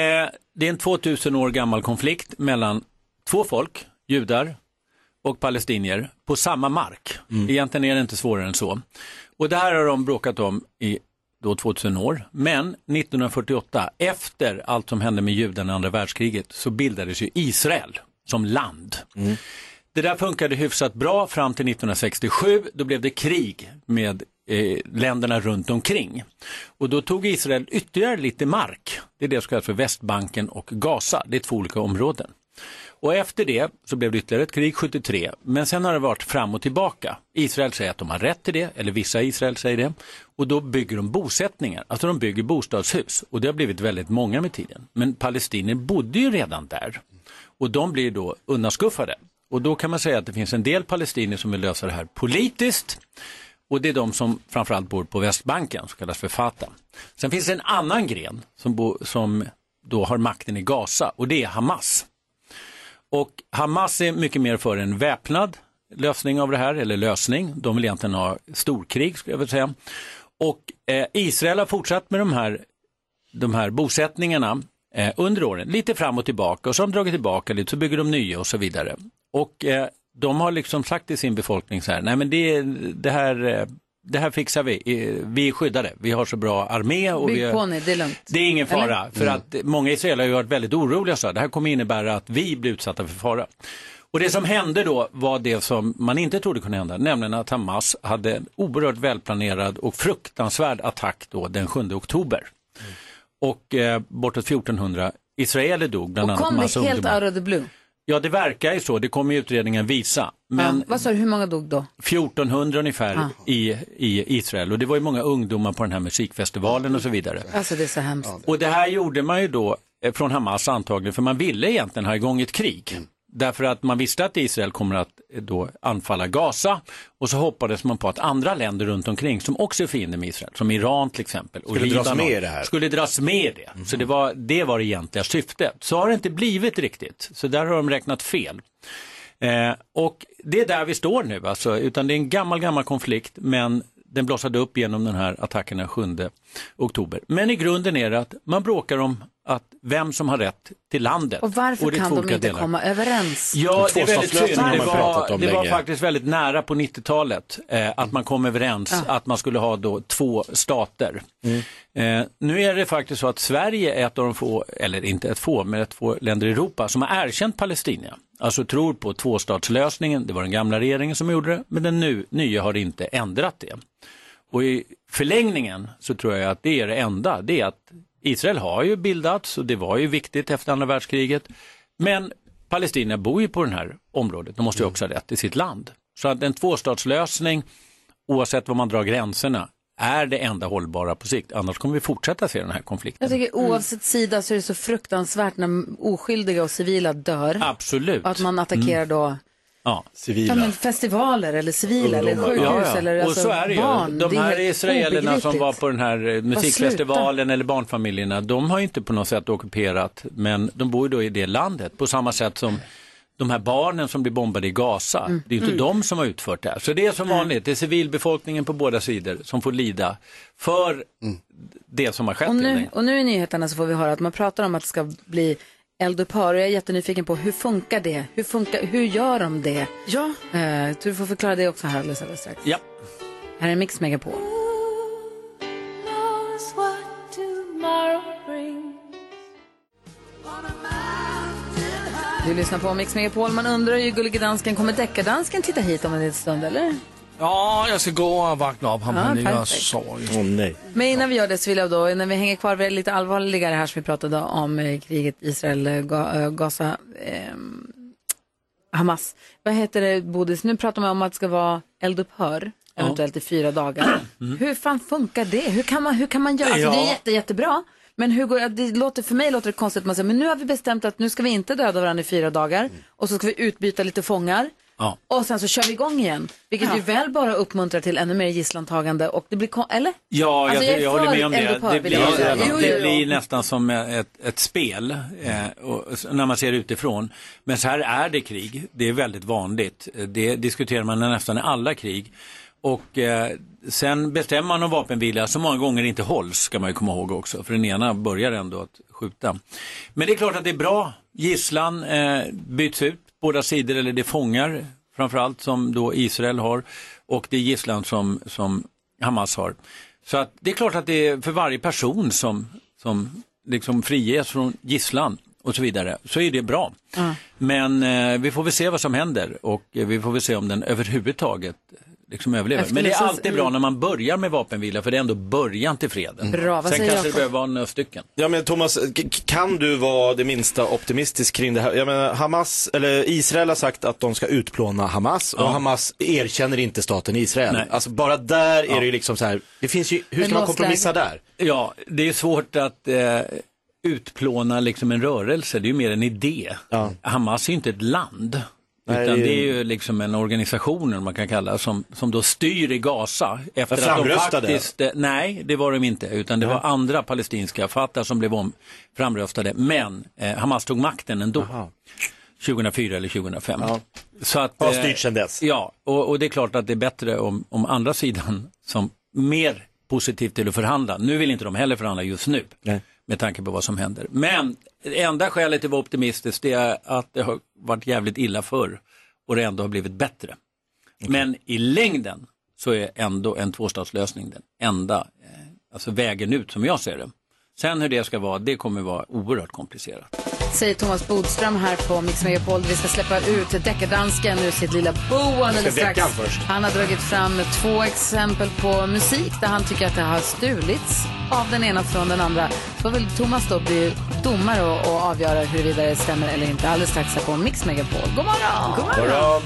[SPEAKER 11] det är en 2000 år gammal konflikt mellan två folk, judar och palestinier, på samma mark. Egentligen är det inte svårare än så. Och det här har de bråkat om i då 2000 år, men 1948, efter allt som hände med judarna i andra världskriget, så bildades ju Israel som land. Det där funkade hyfsat bra fram till 1967. Då blev det krig med eh, länderna runt omkring. Och då tog Israel ytterligare lite mark. Det är det som kallas för Västbanken och Gaza. Det är två olika områden. Och efter det så blev det ytterligare ett krig 73. Men sen har det varit fram och tillbaka. Israel säger att de har rätt till det, eller vissa i Israel säger det. Och då bygger de bosättningar, alltså de bygger bostadshus. Och det har blivit väldigt många med tiden. Men palestinier bodde ju redan där. Och de blir då undanskuffade. Och då kan man säga att det finns en del palestinier som vill lösa det här politiskt. Och det är de som framförallt bor på Västbanken, som kallas för Fatah. Sen finns det en annan gren som, bo, som då har makten i Gaza och det är Hamas. Och Hamas är mycket mer för en väpnad lösning av det här, eller lösning. De vill egentligen ha storkrig, skulle jag vilja säga. Och eh, Israel har fortsatt med de här de här bosättningarna eh, under åren, lite fram och tillbaka och så har de dragit tillbaka lite, så bygger de nya och så vidare. Och eh, de har liksom sagt till sin befolkning så här, nej men det, det här, eh, det här fixar vi, Eh, vi är skyddade, vi har så bra armé och vi
[SPEAKER 1] Bygg på
[SPEAKER 11] har...
[SPEAKER 1] nu, det är lugnt.
[SPEAKER 11] Det är ingen fara,
[SPEAKER 1] Eller? Mm.
[SPEAKER 11] för att många israeler har ju varit väldigt oroliga. Så här. Det här kommer innebära att vi blir utsatta för fara. Och det som hände då var det som man inte trodde kunde hända, nämligen att Hamas hade en oerhört välplanerad och fruktansvärd attack då den 7 oktober.
[SPEAKER 1] Mm.
[SPEAKER 11] Och eh, bortåt 1400 israeler dog, bland
[SPEAKER 1] Och
[SPEAKER 11] annat
[SPEAKER 1] kom det helt
[SPEAKER 11] massa ungdomar.
[SPEAKER 1] out of the blue?
[SPEAKER 11] Ja, det verkar ju så, det kommer ju utredningen visa. Men
[SPEAKER 1] ja. Vad sa du, hur många dog då?
[SPEAKER 11] 1400 ungefär
[SPEAKER 1] Ah.
[SPEAKER 11] i, i Israel och det var ju många ungdomar på den här musikfestivalen och så vidare.
[SPEAKER 1] Alltså det är så hemskt.
[SPEAKER 11] Och det här gjorde man ju då eh, från Hamas antagligen, för man ville egentligen ha igång ett krig.
[SPEAKER 2] Mm.
[SPEAKER 11] Därför att man visste att Israel kommer att eh, då anfalla Gaza och så hoppades man på att andra länder runt omkring som också är fiender med Israel, som Iran till exempel och
[SPEAKER 2] Skulle dras
[SPEAKER 11] Libanon,
[SPEAKER 2] med i det här. Mm.
[SPEAKER 11] skulle dras med i det. Så det var, det var det egentliga syftet. Så har det inte blivit riktigt, så där har de räknat fel. Eh, och det är där vi står nu, alltså, utan det är en gammal, gammal konflikt, men den blossade upp genom den här attacken den 7 oktober. Men i grunden är det att man bråkar om att vem som har rätt till landet.
[SPEAKER 1] Och varför
[SPEAKER 11] det är
[SPEAKER 1] kan
[SPEAKER 11] två
[SPEAKER 1] de
[SPEAKER 11] olika
[SPEAKER 1] inte
[SPEAKER 11] delar.
[SPEAKER 1] komma överens?
[SPEAKER 11] Ja, det är väldigt synd.
[SPEAKER 2] har
[SPEAKER 11] Det
[SPEAKER 2] man pratat
[SPEAKER 11] var,
[SPEAKER 2] om
[SPEAKER 11] det var
[SPEAKER 2] länge.
[SPEAKER 11] faktiskt väldigt nära på 90-talet eh, att man kom överens att man skulle ha då två stater.
[SPEAKER 2] Mm.
[SPEAKER 11] Eh, nu är det faktiskt så att Sverige är ett av de få, eller inte ett få, men ett få länder i Europa som har erkänt Palestina. Alltså tror på tvåstatslösningen. Det var den gamla regeringen som gjorde det, men den nu, nya har inte ändrat det. Och i förlängningen så tror jag att det är det enda, det är att Israel har ju bildats och det var ju viktigt efter andra världskriget. Men Palestina bor ju på det här området, de måste ju också ha rätt i sitt land. Så att en tvåstatslösning, oavsett var man drar gränserna, är det enda hållbara på sikt. Annars kommer vi fortsätta se den här konflikten.
[SPEAKER 1] Jag tycker oavsett sida så är det så fruktansvärt när oskyldiga och civila dör.
[SPEAKER 11] Absolut.
[SPEAKER 1] Och att man attackerar
[SPEAKER 11] Mm.
[SPEAKER 1] då
[SPEAKER 11] Ja.
[SPEAKER 1] ja, men festivaler eller civila eller
[SPEAKER 11] Ungdomar.
[SPEAKER 1] sjukhus
[SPEAKER 11] Ja, ja.
[SPEAKER 1] eller
[SPEAKER 11] och
[SPEAKER 1] alltså,
[SPEAKER 11] så är det ju.
[SPEAKER 1] barn.
[SPEAKER 11] De här
[SPEAKER 1] helt
[SPEAKER 11] israelerna som
[SPEAKER 1] obegripligt.
[SPEAKER 11] var på den här eh, musikfestivalen eller barnfamiljerna, de har ju inte på något sätt ockuperat, men de bor ju då i det landet på samma sätt som de här barnen som blir bombade i Gaza,
[SPEAKER 13] Mm.
[SPEAKER 11] det är ju inte
[SPEAKER 13] Mm.
[SPEAKER 11] de som har utfört det här. Så det är som vanligt, det är civilbefolkningen på båda sidor som får lida för det som har skett.
[SPEAKER 1] Och
[SPEAKER 11] helt
[SPEAKER 1] nu,
[SPEAKER 11] enkelt.
[SPEAKER 1] och nu i nyheterna så får vi höra att man pratar om att det ska bli eldupphör och jag är jättenyfiken på hur funkar det? Hur, funkar, hur gör de det? Ja. Eh, tror du får förklara det också här alldeles, alldeles strax.
[SPEAKER 11] Ja.
[SPEAKER 1] Här är Mix Megapol.
[SPEAKER 8] knows what tomorrow brings.
[SPEAKER 1] Du lyssnar på Mix Megapol. Man undrar ju, gullige dansken, kommer deckardansken titta hit om en liten stund eller?
[SPEAKER 4] Ja, jag ska gå och vakna upp. Han,
[SPEAKER 1] Ja,
[SPEAKER 4] han ligger och
[SPEAKER 1] perfekt.
[SPEAKER 4] sover just
[SPEAKER 2] nu. nej.
[SPEAKER 1] Men innan vi gör det så vill jag då, när vi hänger kvar vid det lite allvarligare här som vi pratade om eh, kriget Israel-Gaza, ehm, Hamas. Vad heter det, Bodis? Nu pratar man om att det ska vara eldupphör,
[SPEAKER 8] Ja. Mm.
[SPEAKER 1] eventuellt i fyra dagar. Hur fan funkar det? Hur kan man, hur kan man göra? Alltså, det är
[SPEAKER 8] Ja.
[SPEAKER 1] jätte, jättebra. Men hur går, det låter, för mig låter det konstigt att man säger, men nu har vi bestämt att nu ska vi inte döda varandra i fyra dagar
[SPEAKER 8] Mm.
[SPEAKER 1] och så ska vi utbyta lite fångar.
[SPEAKER 11] Ja.
[SPEAKER 1] Och sen så kör vi igång igen, vilket ju väl bara uppmuntrar till ännu mer gisslantagande och det blir, kon- eller?
[SPEAKER 11] Ja,
[SPEAKER 1] Alltså,
[SPEAKER 11] jag,
[SPEAKER 1] jag är
[SPEAKER 11] jag, håller
[SPEAKER 1] för
[SPEAKER 11] med om det.
[SPEAKER 1] eldupphör,
[SPEAKER 11] Det
[SPEAKER 1] vill
[SPEAKER 11] blir,
[SPEAKER 1] jag säga. Jo, jo,
[SPEAKER 11] det
[SPEAKER 1] jo.
[SPEAKER 11] blir nästan som ett, ett spel eh, och, s- när man ser det utifrån. Men så här är det krig. Det är väldigt vanligt. Eh, Det diskuterar man nästan i alla krig. Och eh, sen bestämmer man om vapenvila som många gånger inte hålls, ska man ju komma ihåg också. För den ena börjar ändå att skjuta. Men det är klart att det är bra. Gisslan eh, byts ut, båda sidor, eller det är fångar framförallt som då Israel har. Och det är gisslan som, som Hamas har. Så att det är klart att det är för varje person som, som liksom friges från gisslan och så vidare, så är det bra. Men eh, vi får väl se vad som händer och eh, vi får väl se om den överhuvudtaget liksom överlever.
[SPEAKER 1] Jag skulle
[SPEAKER 11] Men det är
[SPEAKER 1] så-
[SPEAKER 11] alltid bra när man börjar med vapenvila för det är ändå början till freden.
[SPEAKER 1] Bra, vad
[SPEAKER 11] Sen
[SPEAKER 1] säger
[SPEAKER 11] kanske det
[SPEAKER 1] Jakob?
[SPEAKER 11] behöver vara några stycken.
[SPEAKER 2] Ja men Thomas, k- k- kan du vara det minsta optimistisk kring det här? Jag menar, Hamas, eller Israel har sagt att de ska utplåna Hamas och
[SPEAKER 11] Ja.
[SPEAKER 2] Hamas erkänner inte staten Israel. Alltså bara där är det ju liksom så här, det finns ju, hur ska man kompromissa där?
[SPEAKER 11] Ja, det är svårt att eh, utplåna liksom en rörelse, det är ju mer en idé. Hamas är ju inte ett land.
[SPEAKER 2] Nej,
[SPEAKER 11] utan
[SPEAKER 2] det är-
[SPEAKER 11] det är ju liksom en organisation, eller vad man kan kalla det, som, som då styr i Gaza. Efter
[SPEAKER 2] Men
[SPEAKER 11] att de
[SPEAKER 2] framröstade?
[SPEAKER 11] faktiskt, eh, nej, det var de inte, utan det var andra palestinska fattar som blev om, framröstade. Men eh, Hamas tog makten ändå. 2004 eller 2005.
[SPEAKER 2] Ja.
[SPEAKER 11] Så att,
[SPEAKER 2] Har
[SPEAKER 11] eh,
[SPEAKER 2] styrt sedan dess.
[SPEAKER 11] Ja, och, och det är klart att det är bättre om, om andra sidan som mer positivt till att förhandla. Nu vill inte de heller förhandla just nu med tanke på vad som händer. Men det enda skälet till att vara optimistisk det är att det har varit jävligt illa förr och det ändå har blivit bättre. Men i längden så är ändå en tvåstatslösning den enda eh, alltså vägen ut som jag ser det. Sen hur det ska vara, det kommer vara oerhört komplicerat.
[SPEAKER 1] Säger Thomas Bodström här på Mix Megapol. Vi ska släppa ut deckardansken ur sitt lilla bo alldeles
[SPEAKER 11] Ska väcka
[SPEAKER 1] strax.
[SPEAKER 11] han först?
[SPEAKER 1] Han har dragit fram två exempel på musik där han tycker att det har stulits av den ena från den andra. Så vill Thomas då bli domare och, och avgöra huruvida det stämmer eller inte. Alldeles strax här på Mix Megapol. God morgon! God
[SPEAKER 2] Bara-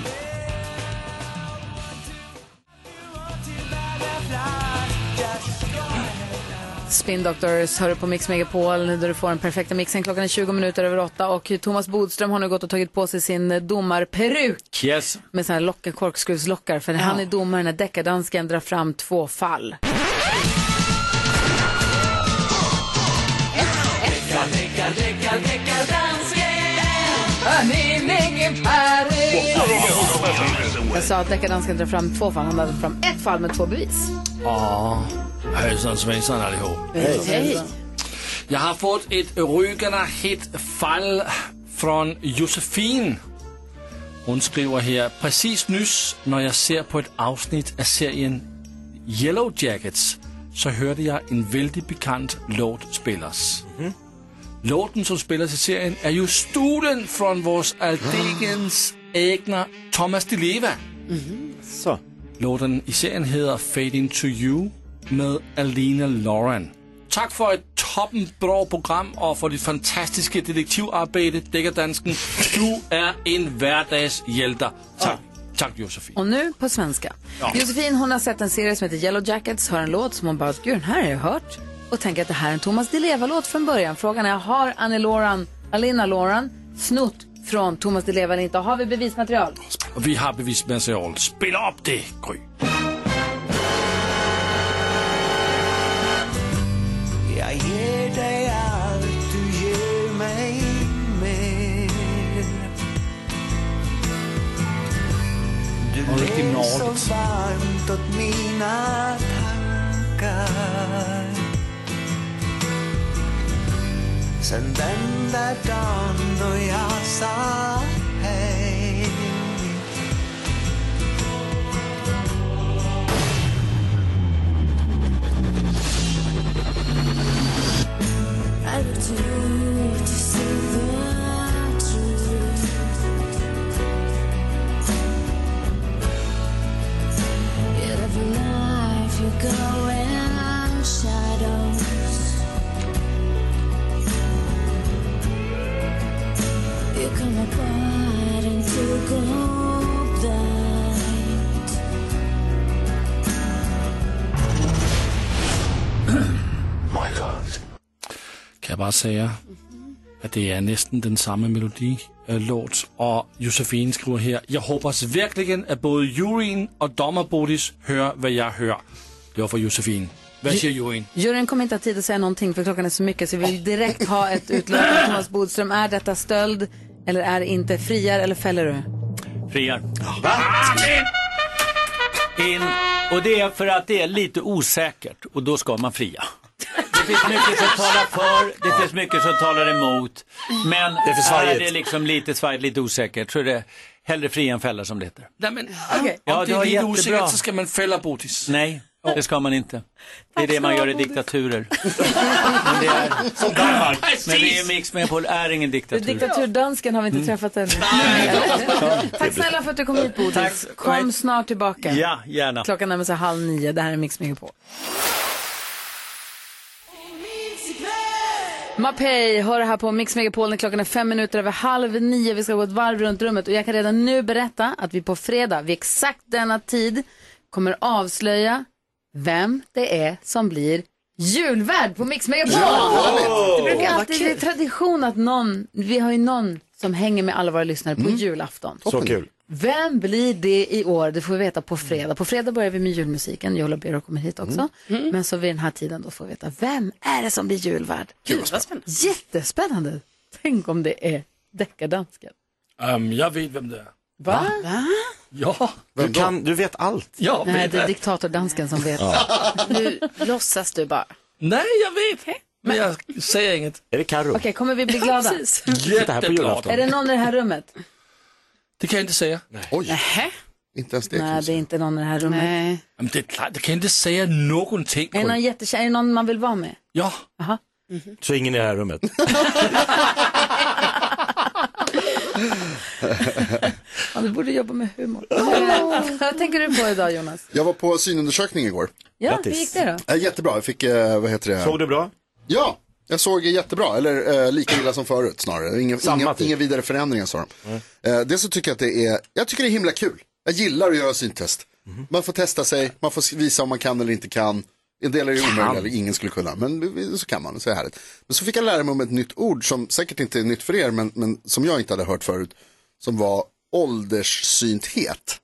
[SPEAKER 1] Spin Doctors hör du på Mix Megapol där du får den perfekta mixen. Klockan är 20 minuter över åtta och Thomas Bodström har nu gått och tagit på sig sin eh, domarperuk
[SPEAKER 11] Yes.
[SPEAKER 1] med sådana här lockar, korkskruvslockar för han är domare när deckardansken drar fram två fall. Jag sa att deckardansken drar fram två fall, han drar fram ett fall med två bevis.
[SPEAKER 4] Ja, hejsan svejsan allihop.
[SPEAKER 1] Hej.
[SPEAKER 4] Jag har fått ett rykande hett fall från Josefin. Hon skriver här, precis nyss när jag ser på ett avsnitt av serien Yellow Jackets så hörde jag en väldigt bekant låt spelas. Låten som spelas i serien är ju stulen från vår alldeles egna Thomas Di Leva.
[SPEAKER 2] Så.
[SPEAKER 4] Låten i serien heter Fade Into You med Alina Lauren. Tack för ett toppenbra program och för ditt fantastiska detektivarbete, Dækkerdansken. Du är en hverdagshjälte. Tack. Tack Josefin.
[SPEAKER 1] Och nu på svenska.
[SPEAKER 4] Ja.
[SPEAKER 1] Josefin hon har sett en serie som heter Yellow Jackets, hör en låt som hon bara, gud den här har jag hört. Och tänker att det här är en Thomas Di Leva-låt från början. Frågan är, har Annie Loran, Alina Loran snott från Thomas Di Leva eller inte? Har vi bevismaterial?
[SPEAKER 4] Och vi har bevismaterial. Spela upp det, Gry.
[SPEAKER 9] Jag ger dig allt du ger mig mer Du ler så
[SPEAKER 4] Originalet.
[SPEAKER 9] varmt åt mina tankar Sen den där dagen då jag sa hej
[SPEAKER 14] I look to you to see the truth. Yet every night you go in shadows. You come apart into gold light.
[SPEAKER 4] My God. Kan jeg bare sige, at det er næsten den samme melodi øh, låt, og Josefine skriver her, jeg håber så virkelig, at både juryen og dommer Bodis hører, hvad jeg hører. Det var fra Josefine. Hvad siger juryen?
[SPEAKER 1] Juryn kommer inte ha tid att säga någonting för klockan är så mycket så vi vill direkt ha ett utlåtande. Thomas Bodström, är detta stöld eller är det inte? Friar eller fäller du?
[SPEAKER 11] Friar. In. Och det är för att det är lite osäkert och då ska man fria. Det finns mycket som talar för, det finns mycket som talar emot. Men det
[SPEAKER 2] för svajigt.
[SPEAKER 11] är det liksom lite svajigt, lite osäkert så är det hellre fria än fälla som det heter.
[SPEAKER 4] Nej, men,
[SPEAKER 11] Ja,
[SPEAKER 4] Om det
[SPEAKER 11] det var
[SPEAKER 4] er lidt
[SPEAKER 11] jättebra.
[SPEAKER 4] usikkert, så skal man fælde Bodis.
[SPEAKER 11] Nej, det ska man inte. Det är det man gör i diktaturer.
[SPEAKER 4] Som Danmark.
[SPEAKER 11] Men det är Mix Megapol är ingen diktatur.
[SPEAKER 1] Diktaturdansken har vi inte
[SPEAKER 11] Mm.
[SPEAKER 1] träffat ännu. Tack snälla för att du kom hit Bodis.
[SPEAKER 11] Tack.
[SPEAKER 1] Kom snart tillbaka.
[SPEAKER 11] Ja, gärna.
[SPEAKER 1] Klockan närmar sig halv nio. Det här är Mix på. Mapei, hör det här på Mix Megapol när klockan är fem minuter över halv nio. Vi ska gå ett varv runt rummet och jag kan redan nu berätta att vi på fredag vid exakt denna tid kommer avslöja vem det är som blir julvärd på Mix Megapol.
[SPEAKER 9] Ja!
[SPEAKER 1] Det brukar
[SPEAKER 9] Åh, vad
[SPEAKER 1] alltid, det är
[SPEAKER 9] kul.
[SPEAKER 1] tradition att någon, vi har ju någon som hänger med alla våra lyssnare på
[SPEAKER 9] Mm.
[SPEAKER 1] julafton.
[SPEAKER 9] Så kul.
[SPEAKER 1] Vem blir det i år? Det får vi veta på fredag. På fredag börjar vi med julmusiken. Jola Bero kommer hit också. Men så vid den här tiden då får vi veta vem är det som blir julvärd? Gud, vad spännande. Jättespännande. Tänk om det är deckardansken.
[SPEAKER 4] Øhm, jeg ved, hvem det er.
[SPEAKER 1] Va?
[SPEAKER 4] Ja.
[SPEAKER 2] Du, kan, du vet allt.
[SPEAKER 4] Ja,
[SPEAKER 1] Nej,
[SPEAKER 4] vet
[SPEAKER 1] det är
[SPEAKER 4] allt.
[SPEAKER 1] diktatordansken som vet.
[SPEAKER 7] Nu låtsas du bara.
[SPEAKER 4] Nej, jag vet. Men jag säger inget.
[SPEAKER 2] Är det Carro?
[SPEAKER 1] Okej, kommer vi bli glada?
[SPEAKER 2] Sitta här på julafton.
[SPEAKER 1] Är det någon i det här rummet?
[SPEAKER 4] Det kan jag inte säga.
[SPEAKER 5] Oj.
[SPEAKER 1] Nej,
[SPEAKER 5] Inte ens det.
[SPEAKER 1] Nej det är inte någon i det här rummet. Nej.
[SPEAKER 4] Jamen, det är klart, det kan jag inte säga någonting.
[SPEAKER 1] Är det någon jättekänd? Är det någon man vill vara med?
[SPEAKER 4] Ja.
[SPEAKER 1] Aha.
[SPEAKER 2] Så ingen i det här rummet.
[SPEAKER 1] Ja, du borde jobba med humor. Vad tänker du på idag Jonas?
[SPEAKER 5] Jag var på synundersökning igår.
[SPEAKER 1] Ja, hur gick det då?
[SPEAKER 5] Eh, Jättebra, jag fick, eh, vad heter det?
[SPEAKER 2] Såg du bra?
[SPEAKER 5] Ja, jag såg jättebra, eller eh, lika illa som förut snarare. Inga,
[SPEAKER 2] Samma
[SPEAKER 5] inga,
[SPEAKER 2] typ.
[SPEAKER 5] inga vidare förändringar sa de. Eh, dels så tycker jag att det är, jag tycker det är himla kul. Jag gillar att göra syntest.
[SPEAKER 2] Mhm.
[SPEAKER 5] Man får testa sig, man får visa om man kan eller inte kan. En del är ju omöjliga, eller ingen skulle kunna, men så kan man, så är det härligt. Men så fick jag lära mig om ett nytt ord som säkert inte är nytt för er, men, men som jag inte hade hört förut, som var ålderssynthet.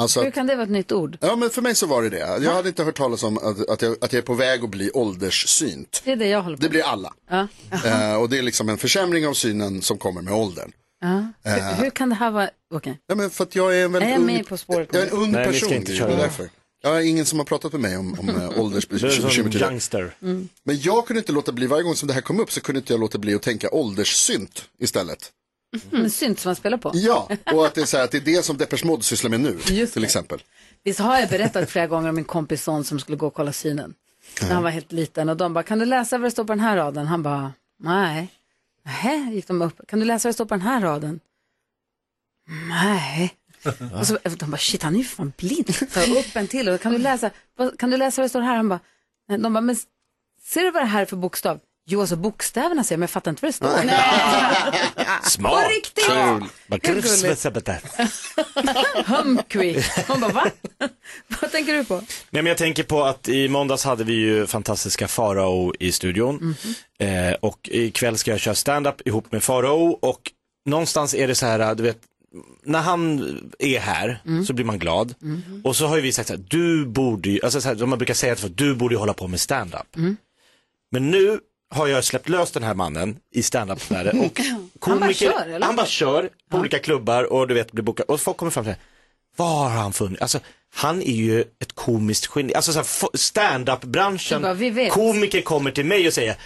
[SPEAKER 5] Alltså
[SPEAKER 1] Hur
[SPEAKER 5] att
[SPEAKER 1] kan det vara ett nytt ord?
[SPEAKER 5] Ja, men för mig så var det det. Jag hade inte hört talas om att, att, jag, att jag är på väg att bli ålderssynt.
[SPEAKER 1] Det är det jag håller på
[SPEAKER 5] Det blir alla.
[SPEAKER 1] med. Ja.
[SPEAKER 5] Eh, och det är liksom en försämring av synen som kommer med åldern. Eh,
[SPEAKER 1] Ja. Hur, hur kan det här vara... Okej.
[SPEAKER 5] Ja, men för att jag är en väldigt
[SPEAKER 1] Är jag
[SPEAKER 5] ung,
[SPEAKER 1] med På spåret?
[SPEAKER 5] jag är en ung
[SPEAKER 2] Nej, ni ska
[SPEAKER 5] person.
[SPEAKER 2] inte
[SPEAKER 5] det
[SPEAKER 2] köra.
[SPEAKER 5] är därför. Jag har ingen som har pratat med mig om, om eh,
[SPEAKER 2] Du är som
[SPEAKER 5] åldersbekymmer tidigare.
[SPEAKER 2] gangster.
[SPEAKER 1] Mm.
[SPEAKER 5] Men jag kunde inte låta bli, varje gång som det här kom upp så kunde inte jag låta bli att tänka ålderssynt istället.
[SPEAKER 1] Men synt som man spelar på?
[SPEAKER 5] Ja, och att det är så här, att det är det som Depeche Mode sysslar med nu, till exempel.
[SPEAKER 1] Visst har jag berättat flera gånger om min kompis son som skulle gå och kolla synen. När han var helt liten och de bara, kan du läsa vad det står på den här raden? Han bara, nej. Nähä, gick de upp. Kan du läsa vad det står på den här raden? Nej.
[SPEAKER 2] Mm.
[SPEAKER 1] Och
[SPEAKER 7] Alltså,
[SPEAKER 1] så, de bara, shit han är ju fan blind. Så jag upp en till och kan du läsa, vad- kan du läsa vad det står här? Han bara, nej. de bara, men ser du vad det här är för bokstav? Jo, alltså bokstäverna ser jag, men jag fattar inte vad det står.
[SPEAKER 2] Smart.
[SPEAKER 1] På riktigt.
[SPEAKER 2] Kul. Vad
[SPEAKER 1] Hur
[SPEAKER 2] grovt
[SPEAKER 1] gulligt.
[SPEAKER 2] svetsar på det.
[SPEAKER 15] Humkvi. Man bara, va? Vad tänker du på?
[SPEAKER 2] Nej, men jag tänker på att i måndags hade vi ju fantastiska Farao i studion.
[SPEAKER 1] Mhm.
[SPEAKER 2] Eh, och ikväll ska jag köra stand-up ihop med Farao och någonstans är det så här, du vet, när han är här
[SPEAKER 1] Mm.
[SPEAKER 2] så blir man glad.
[SPEAKER 1] Mhm.
[SPEAKER 2] Och så har ju vi sagt så här, du borde ju, alltså så här, som man brukar säga, att du borde ju hålla på med stand-up.
[SPEAKER 1] Mm.
[SPEAKER 2] Men nu har jag släppt lös den här mannen i stand-up Sverige och
[SPEAKER 1] Han bara
[SPEAKER 2] komiker-
[SPEAKER 1] kör, eller?
[SPEAKER 2] Han bara kör på olika klubbar och du vet blir bokad och folk kommer fram till mig. Vad har han funnit? Alltså han är ju ett komiskt geni. Alltså så här, fo- stand-up-branschen,
[SPEAKER 1] Det är bara, vi vet.
[SPEAKER 2] komiker kommer till mig och säger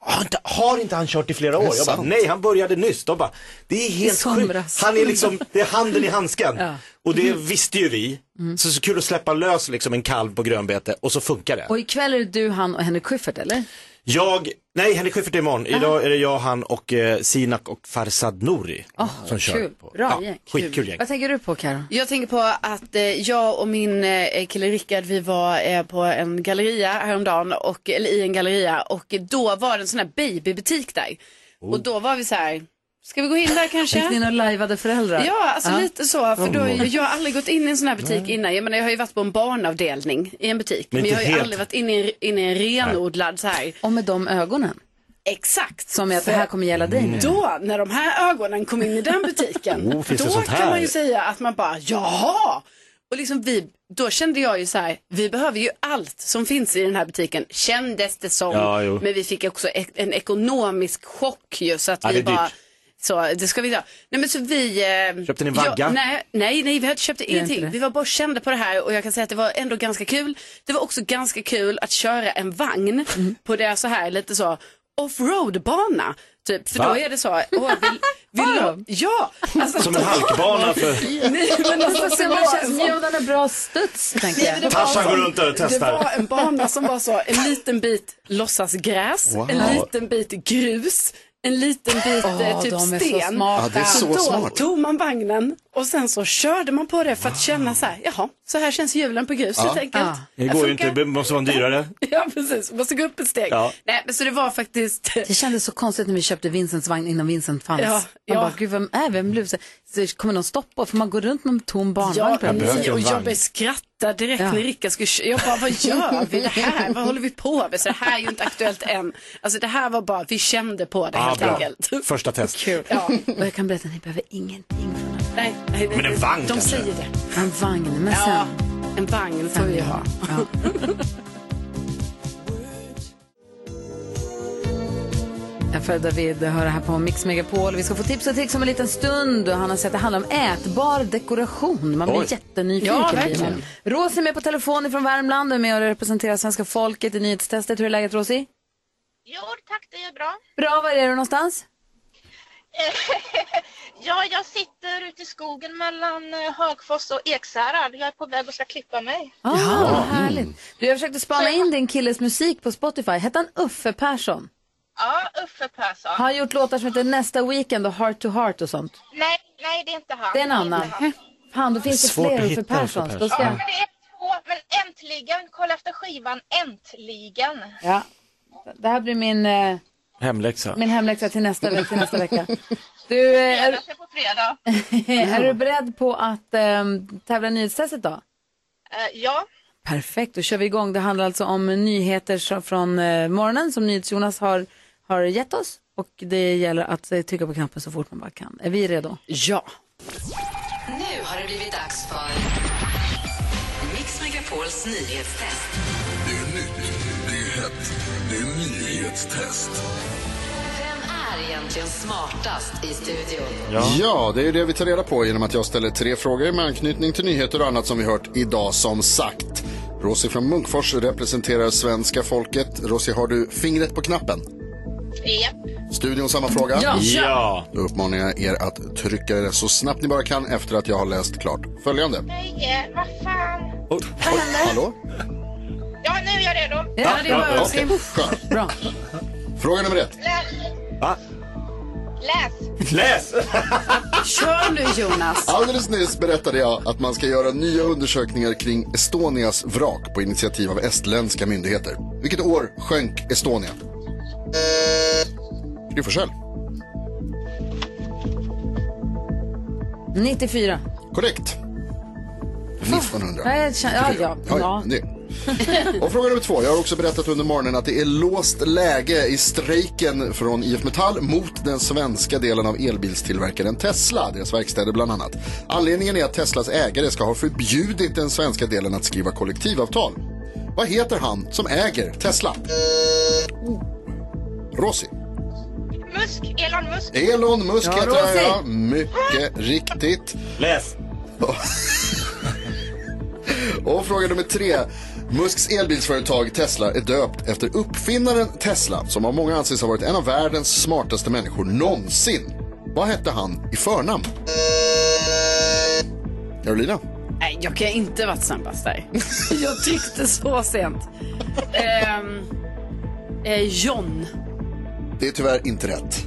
[SPEAKER 2] har inte, har inte han kört i flera
[SPEAKER 1] Det är
[SPEAKER 2] år? Jag bara,
[SPEAKER 1] sant.
[SPEAKER 2] nej han började nyss. De bara, det är helt
[SPEAKER 1] somras.
[SPEAKER 2] sjukt. Han är liksom, det är handen i handsken.
[SPEAKER 1] Ja. Mm.
[SPEAKER 2] Och det visste ju vi. Så, så kul att släppa lös liksom en kalv på grönbete och så funkar det.
[SPEAKER 1] Och ikväll är det du, han och Henrik Schyffert, eller?
[SPEAKER 2] Jag, nej Henrik Schyffert är imorgon. Idag är det jag, han och eh, Sinak och Farzad Nouri som kör.
[SPEAKER 1] kul.
[SPEAKER 2] På.
[SPEAKER 1] Bra
[SPEAKER 2] ja,
[SPEAKER 1] gäng.
[SPEAKER 2] Skitkul gäng.
[SPEAKER 1] Vad tänker du på, Karo?
[SPEAKER 7] Jag tänker på att eh, jag och min eh, kille Rickard, vi var eh, på en galleria häromdagen, och, eller i en galleria, och då var det en sån här babybutik där.
[SPEAKER 1] Oh.
[SPEAKER 7] Och då var vi så här, ska vi gå in där kanske?
[SPEAKER 1] Gick ni in och lajvade föräldrar?
[SPEAKER 7] Ja, alltså
[SPEAKER 1] Ja.
[SPEAKER 7] lite så. För då,
[SPEAKER 1] Mm.
[SPEAKER 7] jag har aldrig gått in i en sån här butik
[SPEAKER 1] Nej.
[SPEAKER 7] innan. Jag, menar, jag har ju varit på en barnavdelning i en butik.
[SPEAKER 1] Men
[SPEAKER 7] Men, jag
[SPEAKER 1] inte
[SPEAKER 7] har ju
[SPEAKER 1] helt.
[SPEAKER 7] aldrig varit inne i, inne i en renodlad så här.
[SPEAKER 1] Och med de ögonen.
[SPEAKER 7] Exakt.
[SPEAKER 1] Som är att det här kommer gälla dig nu.
[SPEAKER 7] Då, när de här ögonen kom in i den butiken,
[SPEAKER 1] Mm. Oh, finns det
[SPEAKER 7] då
[SPEAKER 1] sånt
[SPEAKER 7] kan
[SPEAKER 1] här?
[SPEAKER 7] man ju säga att man bara, jaha! Och liksom vi, då kände jag ju så här, vi behöver ju allt som finns i den här butiken, kändes det som.
[SPEAKER 1] Ja, jo.
[SPEAKER 7] men vi fick också ek- en ekonomisk chock ju, så att
[SPEAKER 2] Ja, det
[SPEAKER 7] vi
[SPEAKER 2] är dyrt.
[SPEAKER 7] bara, så det ska vi göra. Nej men så vi... Eh,
[SPEAKER 2] Köpte ni
[SPEAKER 7] ja,
[SPEAKER 2] vagga?
[SPEAKER 7] nej, nej, nej, vi hade- köpte
[SPEAKER 2] Gör inte
[SPEAKER 7] ingenting.
[SPEAKER 2] det.
[SPEAKER 7] Vi var bara och kände på det här och jag kan säga att det var ändå ganska kul. Det var också ganska kul att köra en vagn
[SPEAKER 2] Mm.
[SPEAKER 7] på det så här lite så offroad-bana. Typ, för
[SPEAKER 2] Va?
[SPEAKER 7] då är det så. Åh, vi, vi lo- ja, alltså,
[SPEAKER 2] Ah, Som en halkbana för...
[SPEAKER 7] Nej, men alltså,
[SPEAKER 1] Får se
[SPEAKER 7] det
[SPEAKER 1] om man
[SPEAKER 7] var
[SPEAKER 1] känns
[SPEAKER 7] en sån-
[SPEAKER 1] bjudan en bra studs, tänker
[SPEAKER 7] Nej, men det
[SPEAKER 1] jag.
[SPEAKER 7] var en
[SPEAKER 2] Tarzan går
[SPEAKER 7] sån-
[SPEAKER 2] runt där och testar.
[SPEAKER 7] Det var en bana som var så, en liten bit låtsasgräs,
[SPEAKER 2] Wow.
[SPEAKER 7] en liten bit grus, en liten bit
[SPEAKER 1] Åh,
[SPEAKER 7] eh, typ
[SPEAKER 1] de är så
[SPEAKER 7] sten.
[SPEAKER 1] smarta. Ja, det är så
[SPEAKER 7] då
[SPEAKER 1] smart.
[SPEAKER 7] tog man vagnen och sen så körde man på det för att känna så här, jaha, så här känns hjulen på
[SPEAKER 1] Alltså,
[SPEAKER 7] grus helt enkelt.
[SPEAKER 1] Ah.
[SPEAKER 2] Det går ju
[SPEAKER 7] funkar.
[SPEAKER 2] inte, det måste vara en dyrare.
[SPEAKER 7] Ja, precis, måste gå upp ett steg.
[SPEAKER 2] Ja.
[SPEAKER 7] Nej, men så det var faktiskt...
[SPEAKER 1] Det kändes så konstigt när vi köpte Vincents vagn innan Vincent fanns.
[SPEAKER 7] Ja,
[SPEAKER 1] man
[SPEAKER 7] ja.
[SPEAKER 1] bara, gud vem är vem blev så, så kommer någon stoppa? För man går runt med en tom barnvagn.
[SPEAKER 7] Ja,
[SPEAKER 1] på den
[SPEAKER 7] nej,
[SPEAKER 1] tiden.
[SPEAKER 7] och jag började skratta direkt
[SPEAKER 1] Ja.
[SPEAKER 7] när Rickard skulle kö- Jag bara, vad gör vi det här? Vad håller vi på med? Så det här är ju inte aktuellt än. Alltså det här var bara, vi kände på det
[SPEAKER 2] Ah,
[SPEAKER 7] helt
[SPEAKER 2] bra.
[SPEAKER 7] enkelt.
[SPEAKER 2] Första test.
[SPEAKER 1] Kul.
[SPEAKER 7] Ja.
[SPEAKER 1] Och jag kan berätta, ni behöver ingenting.
[SPEAKER 7] Nej, nej, nej.
[SPEAKER 2] Men en vagn
[SPEAKER 7] De
[SPEAKER 2] kanske?
[SPEAKER 7] säger det.
[SPEAKER 1] En vagn, men
[SPEAKER 7] Ja,
[SPEAKER 1] sen.
[SPEAKER 7] en vagn får vi ju ha.
[SPEAKER 1] Jag för David höra här på Mix Megapol. Vi ska få tips och tricks om en liten stund. Och han har sett att det handlar om ätbar dekoration. Man blir
[SPEAKER 7] Oj.
[SPEAKER 1] jättenyfiken.
[SPEAKER 7] Ja,
[SPEAKER 1] blir
[SPEAKER 7] verkligen.
[SPEAKER 1] man. Rosie är med på telefon från Värmland och är med och representerar svenska folket i nyhetstestet. Hur är läget Rosie?
[SPEAKER 16] Jo tack, det är bra.
[SPEAKER 1] Bra, var är du någonstans?
[SPEAKER 16] ja, jag sitter ute i skogen mellan eh, Högfors och Ekshärad. Jag är på väg och ska klippa mig.
[SPEAKER 1] Ah, vad härligt. Du, jag försökte spana in din killes musik på Spotify. Hette han Uffe Persson?
[SPEAKER 16] Ja, Uffe Persson.
[SPEAKER 1] Har han gjort låtar som heter Nästa Weekend och Heart to Heart och sånt?
[SPEAKER 16] Nej, nej, det är inte han.
[SPEAKER 1] Det är en
[SPEAKER 16] inte
[SPEAKER 1] annan.
[SPEAKER 16] han.
[SPEAKER 1] Fan, då finns
[SPEAKER 16] Det är svårt
[SPEAKER 1] det fler
[SPEAKER 16] att hitta
[SPEAKER 1] Uffe
[SPEAKER 16] Uffe
[SPEAKER 1] Perssons. Då ska
[SPEAKER 16] Ja,
[SPEAKER 1] jag...
[SPEAKER 16] men det är två. Men äntligen, kolla efter skivan Äntligen.
[SPEAKER 1] Ja. Det här blir min, eh,
[SPEAKER 2] Hemläxa.
[SPEAKER 1] min hemläxa till nästa, ve- till nästa vecka. Du, eh, är,
[SPEAKER 16] Fredag på fredag.
[SPEAKER 1] är du beredd på att eh, tävla i nyhetstestet då?
[SPEAKER 16] Eh, ja,
[SPEAKER 1] Perfekt, då kör vi igång. Det handlar alltså om nyheter så- från eh, morgonen som NyhetsJonas har, har gett oss. Och det gäller att eh, trycka på knappen så fort man bara kan. Är vi redo?
[SPEAKER 7] Ja.
[SPEAKER 10] Nu har det blivit dags för Mix Megapols nyhetstest.
[SPEAKER 17] Det är nytt, det är hett, det är nyhetstest.
[SPEAKER 10] Vem är egentligen smartast i studion?
[SPEAKER 5] Ja. det är det vi tar reda på genom att jag ställer tre frågor med anknytning till nyheter och annat som vi hört idag som sagt. Rosie från Munkfors representerar svenska folket. Rosie, har du fingret på knappen?
[SPEAKER 16] Japp.
[SPEAKER 5] Studion samma fråga?
[SPEAKER 16] Ja.
[SPEAKER 2] Ja.
[SPEAKER 5] Då uppmanar jag er att trycka er så snabbt ni bara kan efter att jag har läst klart följande.
[SPEAKER 16] nej, eh, vad fan.
[SPEAKER 5] Hallå?
[SPEAKER 16] Ja, nu är jag redo.
[SPEAKER 5] Okej, skönt.
[SPEAKER 1] Bra.
[SPEAKER 5] Fråga nummer ett.
[SPEAKER 16] Läs,
[SPEAKER 5] Va?
[SPEAKER 16] läs.
[SPEAKER 5] Läs!
[SPEAKER 7] Kör nu Jonas.
[SPEAKER 5] Alldeles nyss berättade jag att man ska göra nya undersökningar kring Estonias vrak på initiativ av estländska myndigheter. Vilket år sjönk Estonia? Gry Forssell.
[SPEAKER 1] 94.
[SPEAKER 5] Korrekt. 1900.
[SPEAKER 1] Ja, jag känner, ja, ja,
[SPEAKER 5] Oj,
[SPEAKER 1] ja.
[SPEAKER 5] det. Och fråga nummer två. Jag har också berättat under morgonen att det är låst läge i strejken från IF Metall mot den svenska delen av elbilstillverkaren Tesla, deras verkstäder bland annat. Anledningen är att Teslas ägare ska ha förbjudit den svenska delen att skriva kollektivavtal. Vad heter han som äger Tesla? Rossi.
[SPEAKER 16] Musk, Elon Musk.
[SPEAKER 5] Elon Musk
[SPEAKER 16] Ja,
[SPEAKER 5] heter han,
[SPEAKER 16] Rossi.
[SPEAKER 5] ja. Mycket riktigt.
[SPEAKER 2] Läs.
[SPEAKER 5] Och fråga nummer tre. Musks elbilsföretag Tesla är döpt efter uppfinnaren Tesla som av många anses ha varit en av världens smartaste människor någonsin. Vad hette han i förnamn? Carolina?
[SPEAKER 7] Nej, jag kan inte varit snabbast där. jag tryckte så sent. Ehm, eh, John.
[SPEAKER 5] Det är tyvärr inte rätt.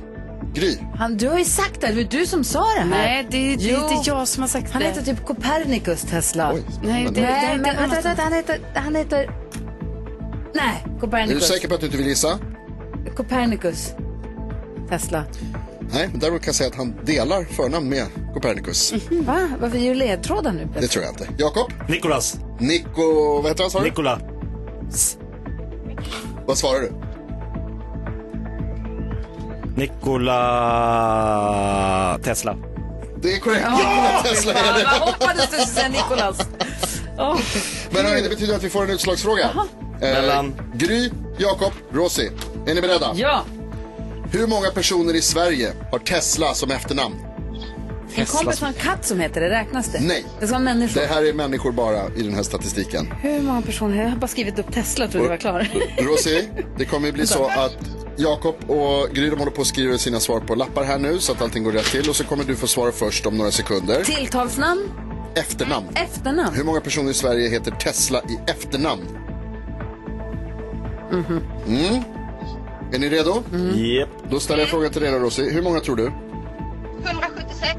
[SPEAKER 5] Gry?
[SPEAKER 1] Han, du har ju sagt det, det är du som sa det här.
[SPEAKER 7] Nej, det- det är inte
[SPEAKER 1] jag som har sagt han det. Han heter typ Copernicus Tesla.
[SPEAKER 7] Nej, det- det- det-
[SPEAKER 1] Nej, men
[SPEAKER 7] det-
[SPEAKER 1] vänta, vänta, han heter, han heter... Nej,
[SPEAKER 5] Är du
[SPEAKER 1] Copernicus.
[SPEAKER 5] säker på att du inte vill gissa?
[SPEAKER 1] Copernicus Tesla.
[SPEAKER 5] Nej, men däremot kan jag säga att han delar förnamn med Copernicus.
[SPEAKER 7] Hmm.
[SPEAKER 1] Va? Varför ger du ledtrådar nu?
[SPEAKER 5] Det tror jag inte. Jakob?
[SPEAKER 2] Nikolas.
[SPEAKER 5] Niko... Vad heter han sa du?
[SPEAKER 2] Nikola.
[SPEAKER 5] Vad svarar du?
[SPEAKER 2] Nikola Tesla.
[SPEAKER 5] Det är korrekt.
[SPEAKER 1] Ja!
[SPEAKER 5] Tesla är det.
[SPEAKER 1] Jag hoppades du skulle säga Nikolas. Åh.
[SPEAKER 5] Men hörni, det betyder att vi får en utslagsfråga.
[SPEAKER 2] Mellan?
[SPEAKER 5] Gry, Jakob, Rosie. Är ni beredda?
[SPEAKER 1] Ja.
[SPEAKER 5] Hur många personer i Sverige har Tesla som efternamn?
[SPEAKER 1] En kompis har en katt som heter det, räknas det?
[SPEAKER 5] Nej.
[SPEAKER 1] Det ska vara människor.
[SPEAKER 5] Det här är människor bara i den här statistiken.
[SPEAKER 1] Hur många personer? Jag har bara skrivit upp Tesla och trodde du var klar.
[SPEAKER 5] Rosie, det kommer ju bli så att Jakob och Gry de håller på att skriva sina svar på lappar här nu så att allting går rätt till och så kommer du få svara först om några sekunder.
[SPEAKER 1] Tilltalsnamn?
[SPEAKER 5] Efternamn.
[SPEAKER 1] Efternamn?
[SPEAKER 5] Hur många personer i Sverige heter Tesla i efternamn? Mm. Är ni redo?
[SPEAKER 2] Yep.
[SPEAKER 5] Då ställer jag frågan till dig då, Rosie. Hur många tror du?
[SPEAKER 16] 176.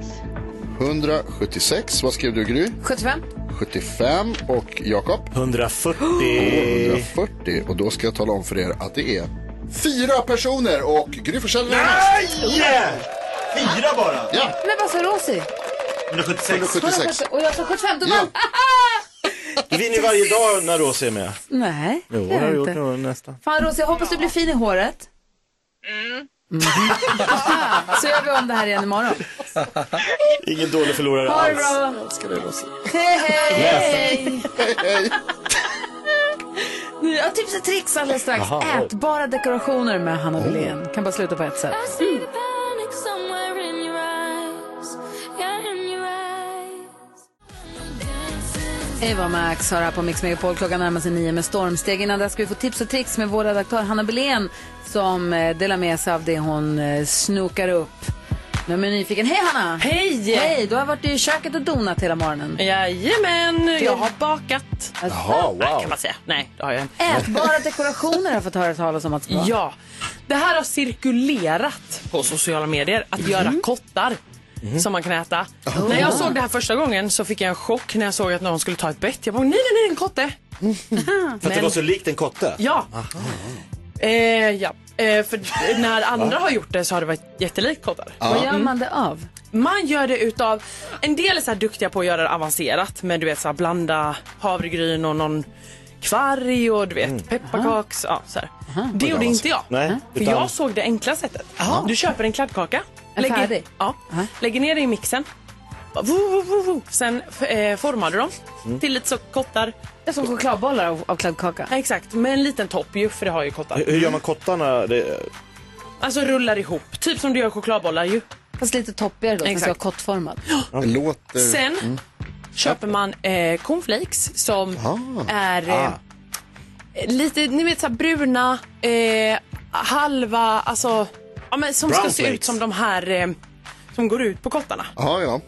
[SPEAKER 5] 176. Vad skrev du Gry?
[SPEAKER 1] 75?
[SPEAKER 5] 75 och Jakob?
[SPEAKER 2] 140.
[SPEAKER 5] 140 och då ska jag tala om för er att det är fyra personer och Gry Forssell är närmast.
[SPEAKER 2] Fyra bara?
[SPEAKER 5] Ja.
[SPEAKER 1] Men vad sa Rosie?
[SPEAKER 2] 176.
[SPEAKER 5] 176.
[SPEAKER 1] Och jag sa 75, då vann...
[SPEAKER 2] Du vinner varje dag när Rosie är med.
[SPEAKER 1] Nej, det
[SPEAKER 2] Jo,
[SPEAKER 1] har
[SPEAKER 2] det har
[SPEAKER 1] jag
[SPEAKER 2] jag gjort
[SPEAKER 1] inte.
[SPEAKER 2] några nästan.
[SPEAKER 1] Fan Rosie, jag hoppas du blir fin i håret. Mm. Aha, så gör vi om det här igen imorgon.
[SPEAKER 2] Ingen dålig förlorare
[SPEAKER 1] Ha det bra.
[SPEAKER 2] alls. Älskar dig Rosie.
[SPEAKER 1] Hej, hej!
[SPEAKER 2] Yes.
[SPEAKER 1] hej. Nu, ja, tips och tricks alldeles strax.
[SPEAKER 18] Jaha, oj.
[SPEAKER 1] Ätbara dekorationer med Hanna Wilén. Kan bara sluta på ett sätt.
[SPEAKER 5] Mm.
[SPEAKER 10] I see the panic somewhere in your eyes. Yeah, in your eyes.
[SPEAKER 1] Eva Max har här på Mix Megapol. Klockan närmar sig nio med stormsteg. Innan där ska vi få tips och tricks med vår redaktör Hanna Belén som eh, delar med sig av det hon eh, snokar upp. Men jag är nyfiken. Hej Hanna!
[SPEAKER 19] Hej!
[SPEAKER 1] Hej! Du har varit i köket och donat hela morgonen.
[SPEAKER 19] Jajamän, jag har bakat.
[SPEAKER 1] Jaha, wow.
[SPEAKER 19] Nej, kan man säga. Nej, det har jag inte.
[SPEAKER 1] Ätbara dekorationer har jag fått höra talas om att det var.
[SPEAKER 19] Ja, det här har cirkulerat på sociala medier, att göra kottar som man kan äta. När jag såg det här första gången så fick jag en chock när jag såg att någon skulle ta ett bett. Jag bara, nej, nej, nej, en kotte.
[SPEAKER 2] För att det
[SPEAKER 19] Men-
[SPEAKER 2] var så likt en kotte?
[SPEAKER 19] Ja. Eh, ja. Eh, för när andra
[SPEAKER 2] Va?
[SPEAKER 19] har gjort det så har det varit jättelikt kottar.
[SPEAKER 1] Vad gör
[SPEAKER 19] Mm.
[SPEAKER 1] man det av?
[SPEAKER 19] Man gör det utav, en del är så här duktiga på att göra det avancerat men du vet så här blanda havregryn och någon kvarg och du vet
[SPEAKER 1] Mm.
[SPEAKER 19] pepparkaks, ja så här. Det gjorde inte jag.
[SPEAKER 2] Nej,
[SPEAKER 19] För
[SPEAKER 2] utan-
[SPEAKER 19] jag såg det enkla sättet. Du köper en kladdkaka.
[SPEAKER 1] En färdig?
[SPEAKER 19] ja, lägger ner det i mixen. Bara Vo, vo, vo, vo. Sen eh, formar du dem till lite så kottar.
[SPEAKER 1] Mm. Det är som chokladbollar av, av kladdkaka?
[SPEAKER 19] Exakt, med en liten topp ju för det har ju kottar.
[SPEAKER 2] Hur hur gör man kottarna? Det...
[SPEAKER 19] Alltså rullar ihop, typ som du gör chokladbollar ju.
[SPEAKER 1] Fast lite toppigare då, som ska vara
[SPEAKER 19] Exakt.
[SPEAKER 1] kortformad.
[SPEAKER 5] Det låter...
[SPEAKER 19] Sen
[SPEAKER 5] Mm.
[SPEAKER 19] köper man eh, cornflakes som
[SPEAKER 5] Ah.
[SPEAKER 19] är eh,
[SPEAKER 5] Ah.
[SPEAKER 19] lite, ni vet så här bruna, eh, halva, alltså, ja, men som ska
[SPEAKER 5] Brown
[SPEAKER 19] se ut
[SPEAKER 5] flakes.
[SPEAKER 19] som de här eh, som går ut på kottarna.
[SPEAKER 5] Ja, ja.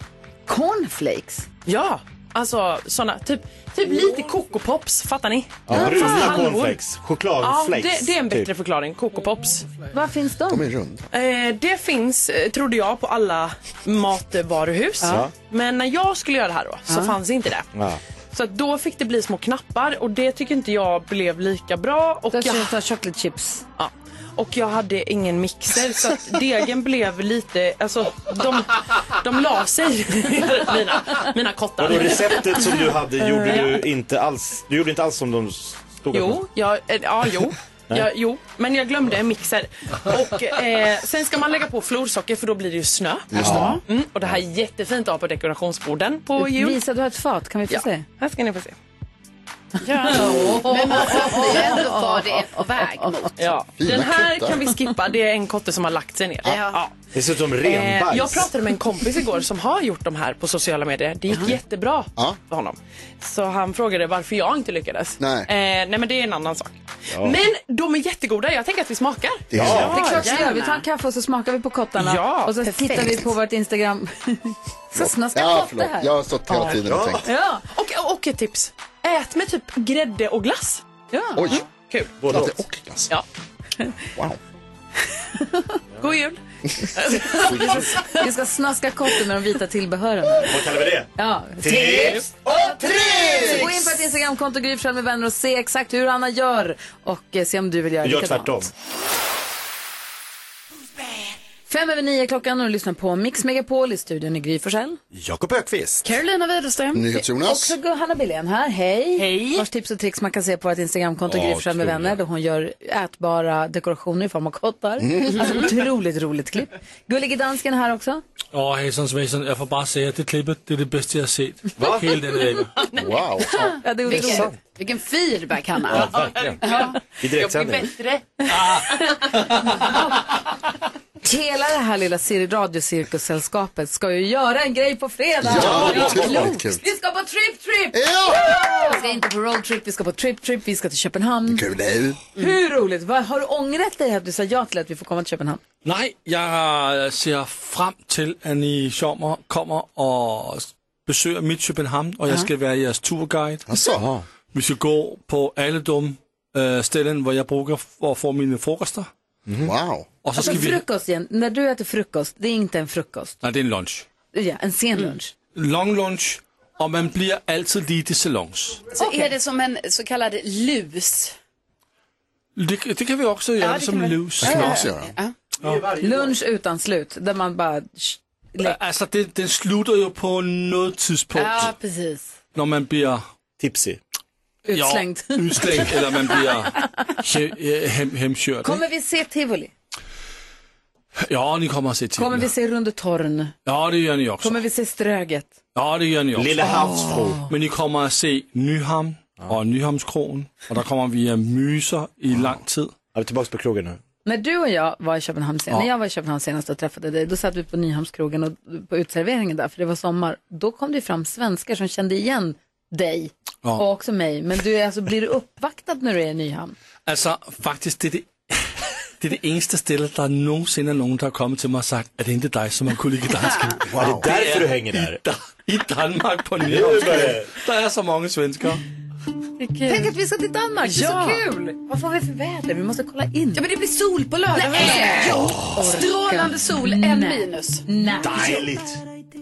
[SPEAKER 1] Cornflakes?
[SPEAKER 19] Ja, alltså sådana, typ, typ lite Coco Pops, fattar ni?
[SPEAKER 2] Ja, bruna
[SPEAKER 19] Fast halvor.
[SPEAKER 2] cornflakes.
[SPEAKER 19] Ja,
[SPEAKER 2] Chokladflakes.
[SPEAKER 19] det, det är en bättre
[SPEAKER 2] typ.
[SPEAKER 19] förklaring, Coco Pops.
[SPEAKER 1] Var finns de?
[SPEAKER 5] De är rund.
[SPEAKER 19] Eh, det finns, eh, trodde jag, på alla matvaruhus.
[SPEAKER 5] Ja.
[SPEAKER 19] Men när jag skulle göra det här då, så
[SPEAKER 5] Ja.
[SPEAKER 19] fanns inte det.
[SPEAKER 2] Ja.
[SPEAKER 19] Så att då fick det bli små knappar och det tycker inte jag blev lika bra. Och
[SPEAKER 1] Det
[SPEAKER 19] jag...
[SPEAKER 1] känns som chocolate chips.
[SPEAKER 19] Ja. och jag hade ingen mixer så att degen blev lite, alltså de, de la sig, mina, mina kottar.
[SPEAKER 2] Vadå, receptet som du hade gjorde
[SPEAKER 19] Ja.
[SPEAKER 2] du inte alls, du gjorde inte alls som de stod att-
[SPEAKER 19] Jo, jag, eh, ja, jo.
[SPEAKER 2] Nej.
[SPEAKER 19] Ja, jo, men jag glömde en mixer. Och, eh, sen ska man lägga på florsocker för då blir det ju snö.
[SPEAKER 1] Just det. Ja.
[SPEAKER 19] Mm, och det här är jättefint att ha på dekorationsborden på jul.
[SPEAKER 1] Visa, du har ett fat. Kan vi få
[SPEAKER 19] Ja.
[SPEAKER 1] se?
[SPEAKER 19] Här ska ni få se.
[SPEAKER 1] Men man
[SPEAKER 7] fattar ju ändå vad det är på väg mot.
[SPEAKER 19] Ja.
[SPEAKER 7] Fina
[SPEAKER 19] Den här
[SPEAKER 7] kottar.
[SPEAKER 19] kan vi skippa. Det är en kotte som har lagt sig ner. Ja.
[SPEAKER 2] Det ser ut som renbajs.
[SPEAKER 19] Eh, jag pratade med en kompis igår som har gjort de här på sociala medier. Det gick jättebra för honom. Så han frågade varför jag inte lyckades.
[SPEAKER 5] Nej.
[SPEAKER 19] Eh, nej men det är en annan sak.
[SPEAKER 5] Ja.
[SPEAKER 19] Men de är jättegoda. Jag tänker att vi smakar.
[SPEAKER 5] Det är Ja. klart.
[SPEAKER 1] Det är klart vi gör. Vi tar en kaffe och så smakar vi på kottarna.
[SPEAKER 19] Ja,
[SPEAKER 1] och så
[SPEAKER 19] perfekt.
[SPEAKER 1] tittar vi på vårt Instagram. så snaskar
[SPEAKER 5] Ja,
[SPEAKER 1] kotte
[SPEAKER 5] förlåt.
[SPEAKER 1] här.
[SPEAKER 5] Jag har stått hela
[SPEAKER 1] Ja.
[SPEAKER 5] tiden och tänkt.
[SPEAKER 19] Ja. Och, och ett tips. Ät med typ grädde och glass. Ja.
[SPEAKER 5] Oj.
[SPEAKER 19] Kul.
[SPEAKER 5] Både Grädde och glass.
[SPEAKER 19] Ja.
[SPEAKER 5] Wow.
[SPEAKER 19] God jul.
[SPEAKER 1] Vi ska snaska kotte med de vita tillbehören.
[SPEAKER 2] Vad kallar vi det?
[SPEAKER 1] Ja.
[SPEAKER 2] Tips
[SPEAKER 1] och
[SPEAKER 2] tricks!
[SPEAKER 1] Gå in på ett Instagramkonto, Gry Forssell med vänner och se exakt hur Anna gör och eh, se om du vill göra
[SPEAKER 2] Gör
[SPEAKER 1] likadant.
[SPEAKER 2] tvärtom.
[SPEAKER 1] Fem över nio klockan och du lyssnar på Mix Megapol i studion i Gry Forssell.
[SPEAKER 2] Jakob Ökvist.
[SPEAKER 1] Carolina Widerström.
[SPEAKER 5] NyhetsJonas.
[SPEAKER 1] Också Gu- Hanna Billén här, hej. Hej. Vars tips och tricks man kan se på vårt Instagramkonto
[SPEAKER 5] Ja,
[SPEAKER 1] Gry Forssell med
[SPEAKER 5] otroligt.
[SPEAKER 1] vänner där hon gör ätbara dekorationer i form av kottar.
[SPEAKER 4] Mm.
[SPEAKER 1] Alltså, otroligt roligt klipp. Gullige dansken är här också.
[SPEAKER 4] Åh, hejsan svejsan, jag får bara säga att det klippet det är det bästa jag har sett.
[SPEAKER 1] Va?
[SPEAKER 4] Hela den veckan.
[SPEAKER 5] Wow.
[SPEAKER 1] Ja, det är otroligt.
[SPEAKER 4] Vilken-
[SPEAKER 1] Vilken feedback
[SPEAKER 4] Ja, verkligen.
[SPEAKER 2] I direktsändning.
[SPEAKER 19] bättre.
[SPEAKER 1] Hela det här lilla cir- radiocirkussällskapet ska ju göra en grej på fredag.
[SPEAKER 20] Ja,
[SPEAKER 1] det är
[SPEAKER 20] otroligt
[SPEAKER 1] klokt.
[SPEAKER 20] kul.
[SPEAKER 1] Vi ska på trip-trip! Vi ska inte på roadtrip, vi ska på trip-trip, vi ska till Köpenhamn.
[SPEAKER 5] Kul. Mm.
[SPEAKER 1] Hur roligt? Vad- Har du ångrat dig att du sa ja till att vi får komma till Köpenhamn?
[SPEAKER 4] Nej, jeg ser frem til, at I sommer kommer og besøger mit København, og jeg
[SPEAKER 1] Ja.
[SPEAKER 4] skal være jeres turguide.
[SPEAKER 5] Altså.
[SPEAKER 4] Vi skal gå på alle dumme øh, ställen, hvor jeg bruger for at få mine frokoster.
[SPEAKER 5] Wow.
[SPEAKER 4] Og så
[SPEAKER 1] alltså
[SPEAKER 4] skal vi...
[SPEAKER 1] frukost igen, när du äter frukost, det är inte en frukost.
[SPEAKER 4] Nej, det er en lunch.
[SPEAKER 1] Ja, en
[SPEAKER 4] Mm.
[SPEAKER 1] sen lunch.
[SPEAKER 4] Long lunch, og man bliver altid lige til salons.
[SPEAKER 7] Så är det som en så kallad lus.
[SPEAKER 4] Det, det kan vi også gøre
[SPEAKER 7] det
[SPEAKER 4] som
[SPEAKER 7] kan vi.
[SPEAKER 4] løs.
[SPEAKER 7] Det kan vi også
[SPEAKER 1] gøre. Lunch utan slut, där man bara... sh-
[SPEAKER 4] Altså, det, den slutter jo på noget tidspunkt,
[SPEAKER 1] Ja, precis.
[SPEAKER 4] når man bliver...
[SPEAKER 2] Tipsy.
[SPEAKER 1] Utslängt.
[SPEAKER 4] Ja, utslängt, eller man bliver he- øh, hem, hemkört. ikke?
[SPEAKER 1] Kommer vi se Tivoli?
[SPEAKER 4] Ja, ni kommer att se till.
[SPEAKER 1] Kommer vi se Rundetorn?
[SPEAKER 4] Ja, det gör ni också.
[SPEAKER 1] Kommer vi se Ströget?
[SPEAKER 4] Ja, det gör ni också. Oh.
[SPEAKER 2] Lille havsfru.
[SPEAKER 4] Men ni kommer att se Nyhamn och Nyhamnskrogen. Och där kommer vi att mysa i lång tid.
[SPEAKER 2] Är vi tillbaka på krogen nu?
[SPEAKER 1] När du och jag var i Köpenhamn senast,
[SPEAKER 4] Ja.
[SPEAKER 1] när jag var i Köpenhamn senast och träffade dig, då satt vi på Nyhamnskrogen och på utserveringen där, för det var sommar. Då kom det ju fram svenskar som kände igen dig
[SPEAKER 4] Ja.
[SPEAKER 1] och också mig. Men du är alltså, blir du uppvaktad när du är i Nyhamn?
[SPEAKER 4] Alltså, faktiskt, det är det, det, är det enda stället där någonsin är någon som har kommit till mig och sagt att det inte är dig som är kulikidansken.
[SPEAKER 2] Wow. Är det därför du hänger där?
[SPEAKER 4] I, Da- i Danmark på
[SPEAKER 2] börjar
[SPEAKER 4] Nyhamnskrogen. Där är så många svenskar.
[SPEAKER 1] Tänk att vi ska till Danmark, det är
[SPEAKER 4] Ja.
[SPEAKER 1] så kul! Vad får vi för väder? Vi måste kolla in. Ja, men det blir sol på
[SPEAKER 7] lördag, vad
[SPEAKER 1] Nej.
[SPEAKER 7] säger du?
[SPEAKER 1] Orkar.
[SPEAKER 7] Strålande sol, en
[SPEAKER 1] Nej.
[SPEAKER 7] minus.
[SPEAKER 1] Nej.
[SPEAKER 2] Dejligt.